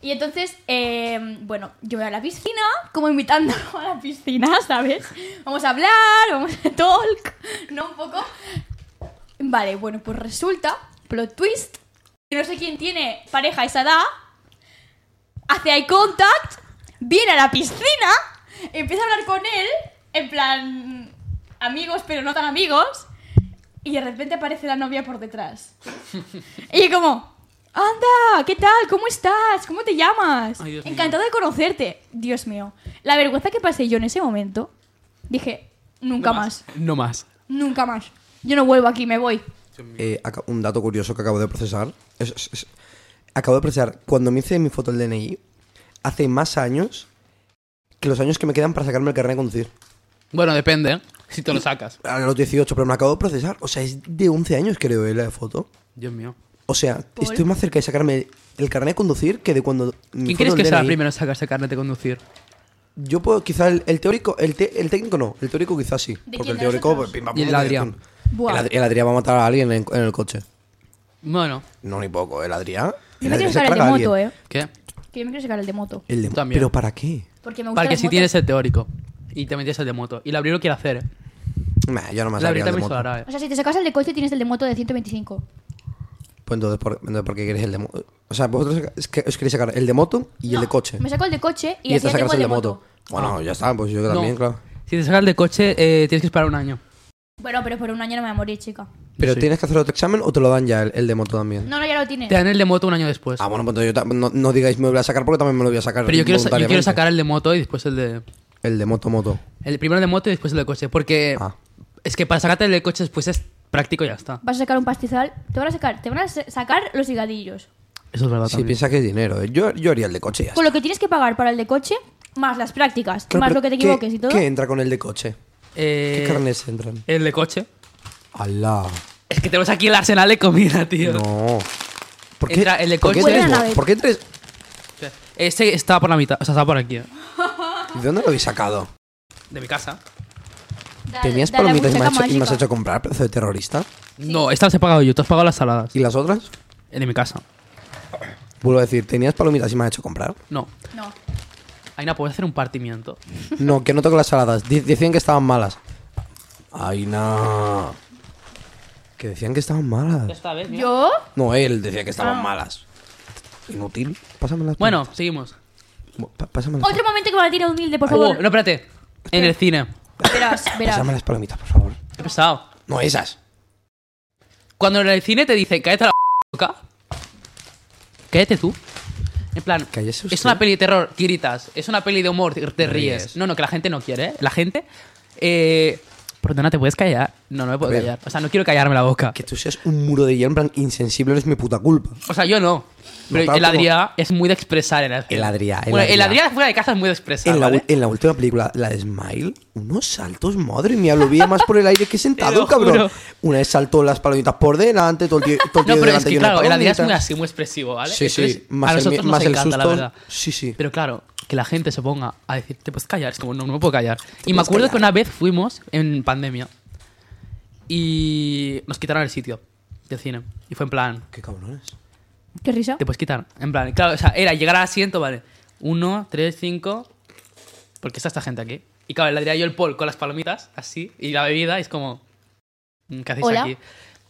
[SPEAKER 2] Y entonces, eh, bueno, yo voy a la piscina, como invitando a la piscina, ¿sabes? Vamos a hablar, vamos a talk, ¿no? Un poco. Vale, bueno, pues resulta, plot twist, que no sé quién tiene pareja a esa edad, hace eye contact, viene a la piscina, empieza a hablar con él, en plan amigos, pero no tan amigos, y de repente aparece la novia por detrás. Y yo como, anda, ¿qué tal? ¿Cómo estás? ¿Cómo te llamas?
[SPEAKER 1] Ay, Dios mío.
[SPEAKER 2] Encantado de conocerte. Dios mío. La vergüenza que pasé yo en ese momento, dije, nunca más.
[SPEAKER 1] No más.
[SPEAKER 2] nunca más. Yo no vuelvo aquí, me voy.
[SPEAKER 3] Eh, aca- un dato curioso que acabo de procesar. Es- es- es- acabo de procesar, cuando me hice mi foto del DNI, hace más años que los años que me quedan para sacarme el carnet de conducir.
[SPEAKER 1] Bueno, depende, ¿eh? Si te lo sacas.
[SPEAKER 3] A los 18, pero me acabo de procesar. O sea, es de 11 años creo eh, la foto.
[SPEAKER 1] Dios mío.
[SPEAKER 3] O sea, estoy más cerca de sacarme el carnet de conducir que de cuando... mi
[SPEAKER 1] ¿Quién
[SPEAKER 3] foto
[SPEAKER 1] crees
[SPEAKER 3] del
[SPEAKER 1] que será
[SPEAKER 3] DNI.
[SPEAKER 1] primero en sacarse carnet de conducir?
[SPEAKER 3] Yo puedo, quizá el, el teórico, el, te- el técnico no, el teórico quizás sí.
[SPEAKER 2] ¿De
[SPEAKER 3] Porque
[SPEAKER 2] quién,
[SPEAKER 3] el
[SPEAKER 2] de
[SPEAKER 3] teórico... pues,
[SPEAKER 2] nosotros?
[SPEAKER 3] pim, pam,
[SPEAKER 1] Y el
[SPEAKER 3] pum,
[SPEAKER 1] Adrián.
[SPEAKER 3] pum.
[SPEAKER 2] Buah.
[SPEAKER 3] El Adri- el Adrián va a matar a alguien en, en el coche.
[SPEAKER 1] Bueno,
[SPEAKER 3] No, ni poco, el Adrián...
[SPEAKER 2] Yo me
[SPEAKER 3] Adrián
[SPEAKER 2] quiero
[SPEAKER 3] se
[SPEAKER 2] sacar el de
[SPEAKER 3] traga a alguien. Eh,
[SPEAKER 2] moto, eh.
[SPEAKER 1] ¿qué?
[SPEAKER 2] Que yo me quiero sacar el de moto.
[SPEAKER 3] El de-
[SPEAKER 1] También.
[SPEAKER 3] ¿Pero para qué?
[SPEAKER 2] Porque me gusta
[SPEAKER 1] Para que
[SPEAKER 2] las
[SPEAKER 1] si
[SPEAKER 2] motos.
[SPEAKER 1] tienes el teórico y te metías el de moto. Y la abrió lo quiere hacer, ¿eh?
[SPEAKER 3] Nah, yo no me
[SPEAKER 1] La abrió
[SPEAKER 3] sabría el de
[SPEAKER 1] también se
[SPEAKER 3] moto.
[SPEAKER 1] lo hará, ¿eh?
[SPEAKER 2] O sea, si te sacas el de coche, tienes el de moto de 125.
[SPEAKER 3] Pues entonces, ¿por, entonces, ¿por qué queréis el de moto? O sea, vosotros es que- os queréis sacar el de moto y el de
[SPEAKER 2] No,
[SPEAKER 3] coche.
[SPEAKER 2] Me saco el de coche y,
[SPEAKER 3] Y
[SPEAKER 2] así
[SPEAKER 3] esta
[SPEAKER 2] ya tengo
[SPEAKER 3] sacarse
[SPEAKER 2] el de moto.
[SPEAKER 3] Bueno, ya está, pues yo también,
[SPEAKER 1] Ah. No.
[SPEAKER 3] claro.
[SPEAKER 1] Si te sacas el de coche, eh, tienes que esperar un año.
[SPEAKER 2] Bueno, pero por un año no me voy a morir, chica.
[SPEAKER 3] Pero
[SPEAKER 1] Sí.
[SPEAKER 3] tienes que hacer otro examen o te lo dan ya el, el de moto también.
[SPEAKER 2] No, no, ya lo tienes.
[SPEAKER 1] Te dan el de moto un año después.
[SPEAKER 3] Ah, bueno, pues entonces yo ta- no, no digáis me lo voy a sacar porque también me lo voy a sacar.
[SPEAKER 1] Pero yo quiero, sa- yo quiero
[SPEAKER 3] voluntariamente.
[SPEAKER 1] sacar el de moto y después el de.
[SPEAKER 3] El de moto, moto.
[SPEAKER 1] El primero de moto y después el de coche. Porque
[SPEAKER 3] Ah.
[SPEAKER 1] es que para sacarte el de coche después es práctico y ya está.
[SPEAKER 2] Vas a sacar un pastizal, te van a sacar, te van a sa- sacar los higadillos.
[SPEAKER 1] Eso es verdad.
[SPEAKER 3] Si
[SPEAKER 1] Ah, también.
[SPEAKER 3] piensas que es dinero, eh. yo, yo haría el de coche ya.
[SPEAKER 2] Con lo que tienes que pagar para el de coche, más las prácticas,
[SPEAKER 3] Claro,
[SPEAKER 2] más
[SPEAKER 3] pero
[SPEAKER 2] lo que te
[SPEAKER 3] ¿qué-
[SPEAKER 2] equivoques y todo.
[SPEAKER 3] ¿Qué entra con el de coche?
[SPEAKER 1] Eh,
[SPEAKER 3] ¿Qué carnes entran?
[SPEAKER 1] El de coche.
[SPEAKER 3] ¡Alá!
[SPEAKER 1] Es que tenemos aquí el arsenal de comida, tío.
[SPEAKER 3] No. ¿Por qué,
[SPEAKER 1] Entra el de
[SPEAKER 3] ¿por qué
[SPEAKER 1] coche.
[SPEAKER 3] tres
[SPEAKER 2] Buena
[SPEAKER 3] vos?
[SPEAKER 2] nave.
[SPEAKER 3] ¿Por qué tres?
[SPEAKER 1] Este está por la mitad. O sea, está por aquí. eh.
[SPEAKER 3] ¿De dónde lo habéis sacado?
[SPEAKER 1] De mi casa.
[SPEAKER 2] Dale,
[SPEAKER 3] ¿Tenías
[SPEAKER 2] dale a
[SPEAKER 3] palomitas y me,
[SPEAKER 2] muñeca
[SPEAKER 3] has hecho, y me has
[SPEAKER 2] mágica.
[SPEAKER 3] hecho comprar, pedazo de terrorista?
[SPEAKER 1] No, esta las he pagado yo. Tú has pagado las saladas.
[SPEAKER 3] ¿Y las otras?
[SPEAKER 1] El de mi casa.
[SPEAKER 3] Vuelvo a decir, ¿tenías palomitas y me has hecho comprar?
[SPEAKER 1] No.
[SPEAKER 2] No.
[SPEAKER 1] Aina, ¿puedes hacer un partimiento?
[SPEAKER 3] No, que no toco las saladas. Di- Decían que estaban malas. Ay, no. Que decían que estaban malas.
[SPEAKER 1] Esta vez,
[SPEAKER 2] ¿Yo?
[SPEAKER 3] No, él decía que estaban malas. Inútil. Pásame las
[SPEAKER 1] Ah. Bueno, seguimos.
[SPEAKER 3] palomitas. Pa- pásame, las
[SPEAKER 2] Otro momento que me la tira humilde, por
[SPEAKER 1] Uh,
[SPEAKER 2] favor.
[SPEAKER 1] no, espérate. En el cine.
[SPEAKER 2] Verás, verás.
[SPEAKER 3] pásame las palomitas, por favor.
[SPEAKER 1] Qué pesado.
[SPEAKER 3] No, esas.
[SPEAKER 1] Cuando en el cine te dicen, cállate la boca. Cállate tú. En plan,
[SPEAKER 3] Cállese
[SPEAKER 1] es
[SPEAKER 3] usted.
[SPEAKER 1] una peli de terror, gritas. Es una peli de humor, te te ríes.
[SPEAKER 3] Ríes.
[SPEAKER 1] No, no, que la gente no quiere, ¿eh? La gente. Eh, perdona, ¿te puedes callar? No, no me puedo
[SPEAKER 3] A ver.
[SPEAKER 1] callar. O sea, no quiero callarme la boca.
[SPEAKER 3] Que tú seas un muro de hierro, en plan, insensible, no es mi puta culpa.
[SPEAKER 1] O sea, yo no. Pero
[SPEAKER 3] tal
[SPEAKER 1] el
[SPEAKER 3] como-
[SPEAKER 1] Adrián es muy de expresar en el
[SPEAKER 3] El Adrián, el
[SPEAKER 1] Bueno, el
[SPEAKER 3] Adrián.
[SPEAKER 1] Adrián fuera de casa es muy de expresar.
[SPEAKER 3] En la,
[SPEAKER 1] ¿vale?
[SPEAKER 3] ul- en la última película, la de Smile, unos saltos, madre mía, lo vi más por el aire
[SPEAKER 1] Te
[SPEAKER 3] que
[SPEAKER 1] lo
[SPEAKER 3] sentado, cabrón.
[SPEAKER 1] juro.
[SPEAKER 3] Una vez saltó las palomitas por delante, todo el tío, todo el tío
[SPEAKER 1] No, pero es
[SPEAKER 3] delante
[SPEAKER 1] que
[SPEAKER 3] lleno de
[SPEAKER 1] claro, el Adidas es muy
[SPEAKER 3] palomitas.
[SPEAKER 1] así, muy expresivo, ¿vale?
[SPEAKER 3] Sí, sí,
[SPEAKER 1] Entonces,
[SPEAKER 3] más
[SPEAKER 1] a
[SPEAKER 3] el
[SPEAKER 1] nosotros
[SPEAKER 3] mie-
[SPEAKER 1] nos
[SPEAKER 3] más el
[SPEAKER 1] encanta, la
[SPEAKER 3] susto.
[SPEAKER 1] verdad.
[SPEAKER 3] Sí, sí.
[SPEAKER 1] Pero claro, que la gente se ponga a decir, te puedes callar, es como, no, no me puedo callar. Y me
[SPEAKER 3] puedes
[SPEAKER 1] acuerdo que
[SPEAKER 3] callar.
[SPEAKER 1] una vez fuimos en pandemia y nos quitaron el sitio del cine. Y fue en plan,
[SPEAKER 3] Qué cabrones.
[SPEAKER 2] Qué risa.
[SPEAKER 1] te puedes quitar. En plan, claro, o sea, era llegar al asiento, vale. Uno, tres, cinco. Porque está esta gente aquí. Y claro, le diría yo el Paul con las palomitas, así, y la bebida, y es como. mm, ¿Qué hacéis
[SPEAKER 2] Hola.
[SPEAKER 1] aquí?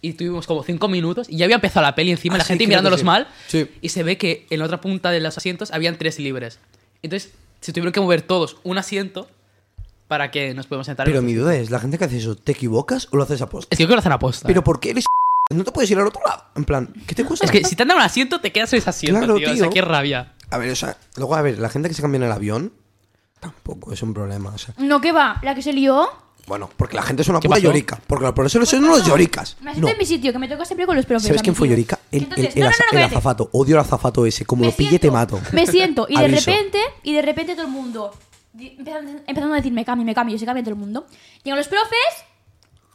[SPEAKER 1] Y tuvimos como cinco minutos, y ya había empezado la peli encima,
[SPEAKER 3] Ah,
[SPEAKER 1] la
[SPEAKER 3] sí,
[SPEAKER 1] gente
[SPEAKER 3] creo
[SPEAKER 1] mirándolos
[SPEAKER 3] que sí.
[SPEAKER 1] mal.
[SPEAKER 3] Sí.
[SPEAKER 1] Y se ve que en la otra punta de los asientos habían tres libres. Entonces, se tuvieron que mover todos un asiento para que nos podamos sentar. en
[SPEAKER 3] Pero
[SPEAKER 1] otro.
[SPEAKER 3] mi duda es, ¿la gente que hace eso, te equivocas o lo haces a posta?
[SPEAKER 1] Es que yo creo que lo hacen aposta.
[SPEAKER 3] Pero
[SPEAKER 1] ¿eh?
[SPEAKER 3] ¿por qué eres no te puedes ir al otro lado? En plan, ¿qué te cuesta?
[SPEAKER 1] Es que si te han dado un asiento, te quedas en ese asiento,
[SPEAKER 3] Claro,
[SPEAKER 1] tío. O sea,
[SPEAKER 3] tío.
[SPEAKER 1] qué rabia.
[SPEAKER 3] A ver, o sea, luego a ver, la gente que se cambia en el avión tampoco es un problema, o sea,
[SPEAKER 2] No, ¿qué va? La que se lió
[SPEAKER 3] Bueno, porque la gente es una
[SPEAKER 1] ¿Qué
[SPEAKER 3] puta
[SPEAKER 1] pasó?
[SPEAKER 3] llorica. Porque por eso son unos lloricas.
[SPEAKER 2] Me siento
[SPEAKER 3] No.
[SPEAKER 2] en mi sitio, que me toca siempre con los propios.
[SPEAKER 3] ¿Sabes quién fue
[SPEAKER 2] amigos.
[SPEAKER 3] llorica? El, el-
[SPEAKER 2] Entonces-
[SPEAKER 3] el
[SPEAKER 2] no, no,
[SPEAKER 3] aza-
[SPEAKER 2] no,
[SPEAKER 3] el
[SPEAKER 2] cállate.
[SPEAKER 3] azafato. Odio al azafato ese. Como
[SPEAKER 2] Me
[SPEAKER 3] lo pille,
[SPEAKER 2] siento,
[SPEAKER 3] te mato.
[SPEAKER 2] Me siento, y de
[SPEAKER 3] Aviso.
[SPEAKER 2] repente, y de repente todo el mundo, di- empezando, empezando a decir me cambio, me cambio, y se cambia todo el mundo. Llegan los profes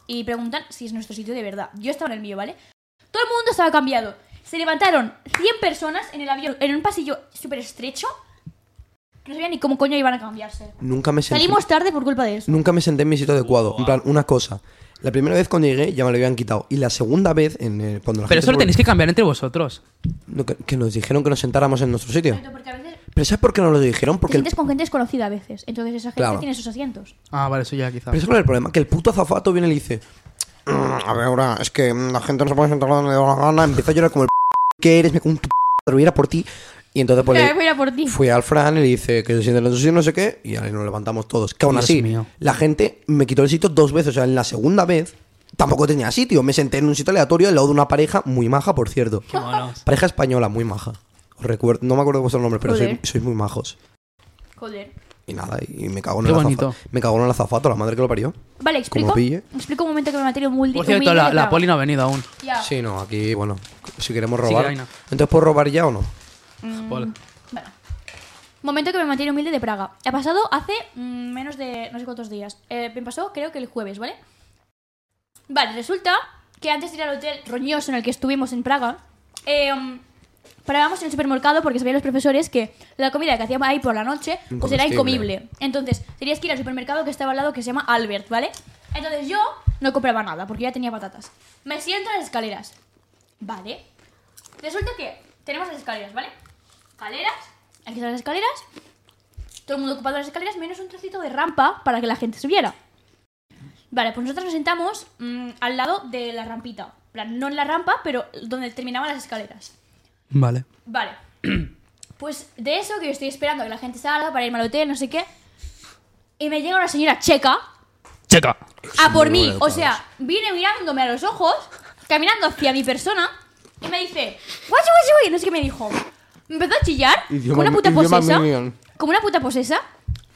[SPEAKER 2] y preguntan si es nuestro sitio de verdad. Yo estaba en el mío, ¿vale? Todo el mundo estaba cambiado. Se levantaron 100 personas en el avión, en un pasillo súper estrecho, que no sabían ni cómo coño iban a cambiarse.
[SPEAKER 3] Nunca me sentí.
[SPEAKER 2] Salimos tarde por culpa de eso.
[SPEAKER 3] Nunca me senté en mi sitio adecuado. En plan, una cosa. La primera vez cuando llegué ya me lo habían quitado. Y la segunda vez, en, eh, cuando la
[SPEAKER 1] Pero
[SPEAKER 3] gente
[SPEAKER 1] eso lo
[SPEAKER 3] volvió-
[SPEAKER 1] tenéis que cambiar entre vosotros.
[SPEAKER 3] No, que, que nos dijeron que nos sentáramos en nuestro sitio.
[SPEAKER 2] Porque a veces
[SPEAKER 3] Pero ¿sabes por qué no lo dijeron?
[SPEAKER 2] te
[SPEAKER 3] Porque el-
[SPEAKER 2] sientes con gente desconocida a veces, entonces esa gente
[SPEAKER 3] Claro.
[SPEAKER 2] tiene sus asientos.
[SPEAKER 1] Ah, vale, eso ya quizás.
[SPEAKER 3] Pero ese no es el problema, que el puto azafato viene y le dice "Mm, A ver, ahora, es que mm, la gente no se puede sentar donde le da la gana Empieza a llorar como el p- que eres, me como tu p- pero hubiera por ti Y entonces pues,
[SPEAKER 2] Pero
[SPEAKER 3] le-
[SPEAKER 2] voy a ir a por ti.
[SPEAKER 3] fui al Fran y le dice que se sienten en su sitio, no sé qué Y ahí nos levantamos todos Que aún
[SPEAKER 1] Dios
[SPEAKER 3] así,
[SPEAKER 1] mío.
[SPEAKER 3] la gente me quitó el sitio dos veces O sea, en la segunda vez tampoco tenía sitio Me senté en un sitio aleatorio al lado de una pareja muy maja, por cierto
[SPEAKER 1] Qué monos.
[SPEAKER 3] Pareja española, muy maja Os recuerdo, no me acuerdo de vuestros nombres, pero sois,
[SPEAKER 2] Joder.
[SPEAKER 3] sois muy majos
[SPEAKER 2] Joder.
[SPEAKER 3] Y nada, y me cago en
[SPEAKER 1] Qué
[SPEAKER 3] el
[SPEAKER 1] bonito.
[SPEAKER 3] azafato Me cago en el azafato, la madre que lo parió
[SPEAKER 2] Vale, explico.
[SPEAKER 3] Como pille.
[SPEAKER 2] Explico un Mm. momento que me material muy
[SPEAKER 1] Por cierto, la, la poli no ha venido aún.
[SPEAKER 2] Ya.
[SPEAKER 3] Sí, no, aquí, bueno, si queremos
[SPEAKER 1] Ah. Sí que
[SPEAKER 3] robar.
[SPEAKER 1] hay, no.
[SPEAKER 3] Entonces, ¿puedo robar ya o no?
[SPEAKER 1] Pol.
[SPEAKER 2] Bueno. Mm. Momento que me mantiene humilde de Praga. Ha pasado hace mm, menos de no sé cuántos días. Eh, me pasó creo que el jueves, ¿vale? Vale, resulta que antes de ir al hotel roñoso en el que estuvimos en Praga, eh, mm, parábamos en el supermercado porque sabían los profesores que la comida que hacíamos ahí por la noche pues era
[SPEAKER 3] Incomestible.
[SPEAKER 2] incomible. Entonces, tenías que ir al supermercado que estaba al lado que se llama Albert, ¿vale? Entonces yo no compraba nada porque ya tenía patatas. Me siento en las escaleras. Vale. Resulta que tenemos las escaleras, ¿vale? Escaleras. Aquí están las escaleras. Todo el mundo ocupado las escaleras, menos un trocito de rampa para que la gente subiera. Vale, pues nosotros nos sentamos mm, al lado de la rampita. En plan, No en la rampa, pero donde terminaban las escaleras.
[SPEAKER 1] Vale.
[SPEAKER 2] Vale. Pues de eso que yo estoy esperando que la gente salga para irme al hotel, no sé qué. Y me llega una señora checa
[SPEAKER 1] Checa.
[SPEAKER 2] a Ah, por
[SPEAKER 3] muy
[SPEAKER 2] mí.
[SPEAKER 3] mal
[SPEAKER 2] O sea, viene mirándome a los ojos, caminando hacia mi persona, y me dice, guachi, guachi, guachi. No sé qué me dijo. Me empezó a chillar,
[SPEAKER 3] Idioma-
[SPEAKER 2] como una puta
[SPEAKER 3] idioma
[SPEAKER 2] posesa.
[SPEAKER 3] minion.
[SPEAKER 2] Como una puta posesa.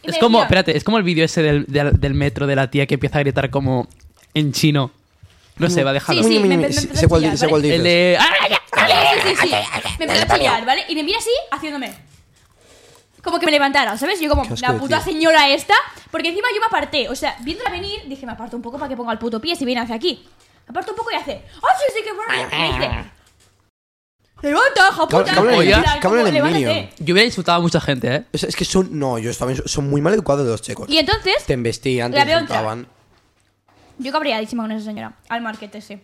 [SPEAKER 2] y me
[SPEAKER 1] Es como,
[SPEAKER 2] decía,
[SPEAKER 1] espérate, es como el vídeo ese del, del- del metro de la tía que empieza a gritar como en chino. No sé, va a dejarlo.
[SPEAKER 2] Sí, sí, me- me- me
[SPEAKER 3] Sé-
[SPEAKER 2] empezó
[SPEAKER 3] sé
[SPEAKER 2] a
[SPEAKER 3] cuál,
[SPEAKER 2] chillar,
[SPEAKER 3] sé cuál
[SPEAKER 1] El
[SPEAKER 3] dices.
[SPEAKER 1] de. ¡Ah, ya!
[SPEAKER 2] Sí, sí, sí. Me empezó a chillar, ¿vale? Y me mira así, haciéndome. Como que me levantara, ¿sabes? Yo como,
[SPEAKER 3] Qué asco
[SPEAKER 2] la
[SPEAKER 3] de
[SPEAKER 2] puta
[SPEAKER 3] tío.
[SPEAKER 2] señora esta. Porque encima yo me aparté. O sea, viéndola venir, dije, me aparto un poco para que ponga el puto pie si viene hacia aquí. Me aparto un poco y hace. ¡Ah, sí, sí, qué bueno! Me dice. ¡Levanta, hija
[SPEAKER 3] Que
[SPEAKER 2] puta!
[SPEAKER 3] hablan- que hablan
[SPEAKER 1] en-
[SPEAKER 2] Literal,
[SPEAKER 3] que hablan
[SPEAKER 2] como,
[SPEAKER 3] en
[SPEAKER 2] "Levántate".
[SPEAKER 3] Minion.
[SPEAKER 1] Yo hubiera insultado a mucha gente, ¿eh?
[SPEAKER 3] Es, es que son, no, yo estaba, son muy mal educados los checos.
[SPEAKER 2] Y entonces,
[SPEAKER 3] Te embestían, te
[SPEAKER 2] La veo entrar.
[SPEAKER 3] insultaban.
[SPEAKER 2] yo cabreadísima con esa señora, al market ese.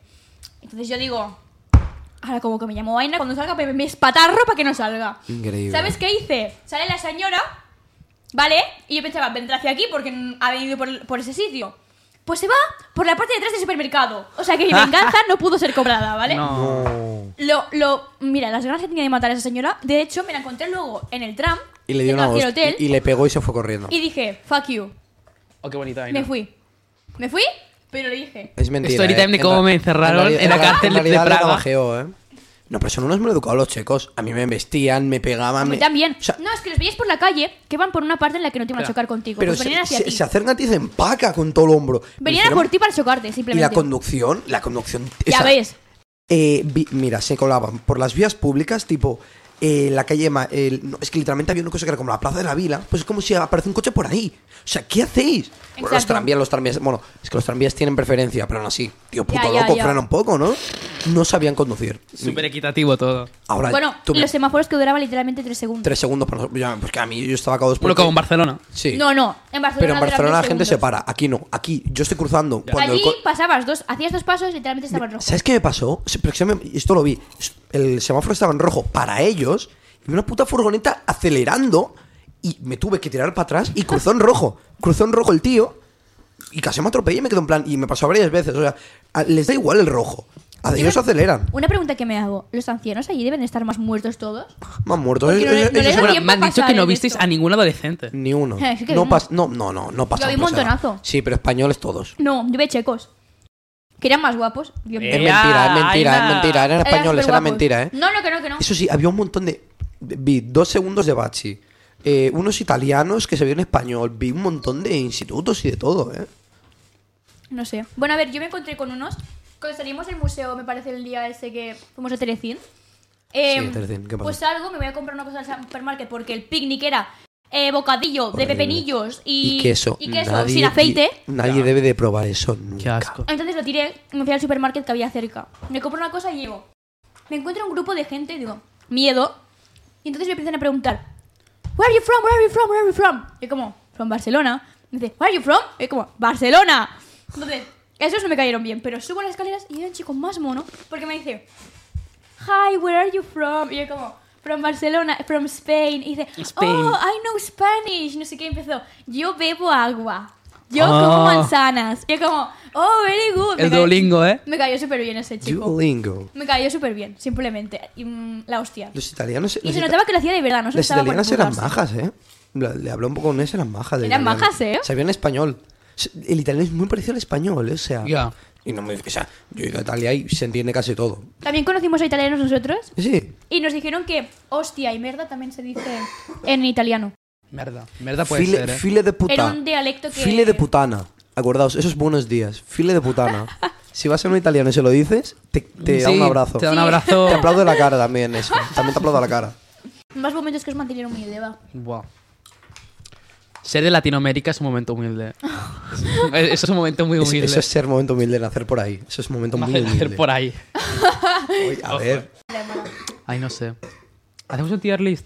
[SPEAKER 2] Entonces yo digo, ahora como que me llamo vaina, cuando salga me, me espatarro para que no salga.
[SPEAKER 3] Increíble.
[SPEAKER 2] ¿Sabes qué hice? Sale la señora, ¿vale? Y yo pensaba, vendrá hacia aquí porque mm, ha venido por, por ese sitio. Pues se va por la parte de atrás del supermercado. O sea que mi venganza no pudo ser cobrada, ¿vale?
[SPEAKER 1] No.
[SPEAKER 3] Oh.
[SPEAKER 2] Lo, lo, mira, las ganas que tenía de matar a esa señora, de hecho me la encontré luego en el tram.
[SPEAKER 3] Y le dio
[SPEAKER 2] yendo
[SPEAKER 3] una
[SPEAKER 2] hacia el
[SPEAKER 3] hostia.
[SPEAKER 2] hotel
[SPEAKER 3] Y, y le pegó y se fue corriendo.
[SPEAKER 2] y dije, fuck you.
[SPEAKER 1] Oh, qué bonita.
[SPEAKER 2] Me fui. Me fui, pero le dije,
[SPEAKER 3] Es mentira.
[SPEAKER 1] Story
[SPEAKER 3] ¿eh?
[SPEAKER 1] time de
[SPEAKER 3] En
[SPEAKER 1] cómo
[SPEAKER 3] ra-
[SPEAKER 1] me encerraron
[SPEAKER 3] realidad-
[SPEAKER 1] en la
[SPEAKER 3] realidad-
[SPEAKER 1] cárcel de
[SPEAKER 3] realidad le
[SPEAKER 1] Praga.
[SPEAKER 3] trabajeo, ¿eh? No, pero son unos mal educados los checos. A mí me embestían, me pegaban.
[SPEAKER 2] A mí
[SPEAKER 3] me-
[SPEAKER 2] también.
[SPEAKER 3] O sea,
[SPEAKER 2] no, es que los veías por la calle que van por una parte en la que no te iban a
[SPEAKER 1] Claro.
[SPEAKER 2] chocar contigo.
[SPEAKER 3] pero
[SPEAKER 2] pues
[SPEAKER 3] se,
[SPEAKER 2] venían hacia
[SPEAKER 3] se-
[SPEAKER 2] ti.
[SPEAKER 3] se acercan a ti y se empaca con todo el hombro. Me
[SPEAKER 2] venían a
[SPEAKER 3] hicieron-
[SPEAKER 2] por ti para chocarte,
[SPEAKER 3] Y la
[SPEAKER 2] simplemente.
[SPEAKER 3] conducción, la conducción.
[SPEAKER 2] ya
[SPEAKER 3] esa-
[SPEAKER 2] ves.
[SPEAKER 3] Eh, vi- mira, se colaban por las vías públicas, tipo eh, la calle. Ma- el- no, es que literalmente había una cosa que era como la plaza de la vila. Pues es como si aparece un coche por ahí. O sea, ¿qué hacéis? Bueno, los
[SPEAKER 2] Exacto.
[SPEAKER 3] tranvías, los tranvías. Bueno, es que los tranvías tienen preferencia, pero aún así, tío, puto
[SPEAKER 2] Ya, ya,
[SPEAKER 3] loco,
[SPEAKER 2] ya.
[SPEAKER 3] frena un poco, ¿no? No sabían conducir.
[SPEAKER 1] Súper equitativo todo.
[SPEAKER 3] Ahora,
[SPEAKER 2] Bueno,
[SPEAKER 3] tú me-
[SPEAKER 2] los semáforos que duraban literalmente tres segundos.
[SPEAKER 3] tres segundos para nosotros. ya, Porque a mí yo estaba acá dos
[SPEAKER 1] Bueno, como en Barcelona.
[SPEAKER 3] Sí.
[SPEAKER 2] No, no. En Barcelona,
[SPEAKER 3] pero en
[SPEAKER 2] duraban
[SPEAKER 3] Barcelona la
[SPEAKER 2] tres
[SPEAKER 3] gente se
[SPEAKER 2] segundos.
[SPEAKER 3] para. Aquí no. Aquí yo estoy cruzando. Cuando el
[SPEAKER 2] Allí
[SPEAKER 3] co-
[SPEAKER 2] pasabas dos, hacías dos pasos y literalmente estaban rojos.
[SPEAKER 3] ¿Sabes qué me pasó? Se- pero se me- Esto lo vi. El semáforo estaba en rojo para ellos y una puta furgoneta acelerando y me tuve que tirar para atrás y cruzó en rojo. Cruzó en rojo el tío y casi me atropellé y me quedó en plan. Y me pasó varias veces. O sea, a- les da igual el rojo. A ellos aceleran.
[SPEAKER 2] Una pregunta que me hago. ¿Los ancianos allí deben estar más muertos todos?
[SPEAKER 3] Me han muerto.
[SPEAKER 2] Porque no le-
[SPEAKER 3] Ellos-
[SPEAKER 2] no le
[SPEAKER 3] ellos-
[SPEAKER 2] da
[SPEAKER 1] Bueno,
[SPEAKER 2] tiempo
[SPEAKER 1] me han
[SPEAKER 2] a
[SPEAKER 1] dicho que
[SPEAKER 2] pasar
[SPEAKER 1] no
[SPEAKER 2] en
[SPEAKER 1] visteis
[SPEAKER 2] esto.
[SPEAKER 1] a ningún adolescente.
[SPEAKER 3] Ni uno.
[SPEAKER 2] Es que
[SPEAKER 3] No,
[SPEAKER 2] vimos.
[SPEAKER 3] pas- no, no, no, no pasa.
[SPEAKER 2] Yo vi un
[SPEAKER 3] por esa edad.
[SPEAKER 2] montonazo.
[SPEAKER 3] Sí, pero españoles todos.
[SPEAKER 2] No, yo ve checos. Que eran más guapos. Yo-
[SPEAKER 1] Eh,
[SPEAKER 3] Es
[SPEAKER 1] Ea,
[SPEAKER 3] mentira, es mentira,
[SPEAKER 1] Aina.
[SPEAKER 3] es mentira. Eran
[SPEAKER 2] Eran
[SPEAKER 3] españoles, era
[SPEAKER 2] superguapos.
[SPEAKER 3] mentira, ¿eh?
[SPEAKER 2] No, no, que no, que no.
[SPEAKER 3] Eso sí, había un montón de. Vi dos segundos de Bachi. eh, unos italianos que se vieron español. Vi un montón de institutos y de todo, ¿eh?
[SPEAKER 2] No sé. Bueno, a ver, yo me encontré con unos. Cuando salimos del museo, me parece el día ese que fuimos a Telecín. em,
[SPEAKER 3] Sí, Telecín, ¿qué pasa?
[SPEAKER 2] Pues algo, me voy a comprar una cosa al supermarket porque el picnic era eh, bocadillo de
[SPEAKER 3] Horrible.
[SPEAKER 2] pepinillos y,
[SPEAKER 3] y queso.
[SPEAKER 2] y queso
[SPEAKER 3] Nadie-
[SPEAKER 2] sin aceite.
[SPEAKER 3] y- nadie debe de probar eso nunca.
[SPEAKER 1] Qué asco.
[SPEAKER 2] Entonces lo tiré, me fui al supermercado que había cerca. Me compro una cosa y llego. Me encuentro un grupo de gente y digo, miedo. Y entonces me empiezan a preguntar, Where are you from? Where are you from? Where are you from? Y como, from Barcelona. Me dice, Where are you from? Y como, Barcelona. Entonces, esos no me cayeron bien, pero subo las escaleras y era un chico más mono porque me dice, Hi, where are you from? Y yo como, from Barcelona, from Spain. Y dice,
[SPEAKER 1] Spain.
[SPEAKER 2] oh, I know Spanish. No sé qué, empezó. Yo bebo agua. Yo
[SPEAKER 1] Ah.
[SPEAKER 2] como manzanas. Y yo como, oh, very good. Me
[SPEAKER 1] El
[SPEAKER 2] cayó-
[SPEAKER 1] Duolingo, ¿eh?
[SPEAKER 2] Me cayó súper bien ese chico.
[SPEAKER 3] Duolingo.
[SPEAKER 2] Me cayó súper bien, simplemente. Y, mm, la hostia.
[SPEAKER 3] Los italianos.
[SPEAKER 2] Y
[SPEAKER 3] los
[SPEAKER 2] se
[SPEAKER 3] ita-
[SPEAKER 2] notaba que lo hacía de verdad, no se lo
[SPEAKER 3] Las
[SPEAKER 2] estaba por
[SPEAKER 3] italianas eran
[SPEAKER 2] burlarse.
[SPEAKER 3] majas, ¿eh? La- Le habló un poco con eso, eran majas. de
[SPEAKER 2] Eran
[SPEAKER 3] italiano.
[SPEAKER 2] majas, ¿eh?
[SPEAKER 3] Sabían español. S- El italiano es muy parecido al español, ¿eh? o sea.
[SPEAKER 1] Ya.
[SPEAKER 3] Y no me, o sea, yo he ido a Italia y se entiende casi todo.
[SPEAKER 2] También conocimos a italianos nosotros
[SPEAKER 3] Sí.
[SPEAKER 2] y nos dijeron que hostia y merda también se dice en italiano.
[SPEAKER 1] Mierda. Mierda puede
[SPEAKER 3] file,
[SPEAKER 1] ser, ¿eh?
[SPEAKER 3] file de puta.
[SPEAKER 2] Era un dialecto que-
[SPEAKER 3] File de putana. Acordaos, esos buenos días. File de putana. si vas a un italiano y se lo dices, te, te da
[SPEAKER 1] Sí,
[SPEAKER 3] un abrazo.
[SPEAKER 1] Te da un abrazo.
[SPEAKER 3] Te aplaudo la cara también, eso. También te aplaudo la cara.
[SPEAKER 2] Más momentos que os mantuvieron muy elevado.
[SPEAKER 1] Buah. Ser de Latinoamérica es un momento humilde. Eso es un momento muy
[SPEAKER 3] Es-
[SPEAKER 1] humilde.
[SPEAKER 3] eso es ser momento humilde, nacer por ahí. Eso es momento muy
[SPEAKER 1] Hacer- hacer
[SPEAKER 3] humilde.
[SPEAKER 1] por ahí.
[SPEAKER 3] Oye, a ver.
[SPEAKER 1] Ay, no sé. Hacemos un tier list.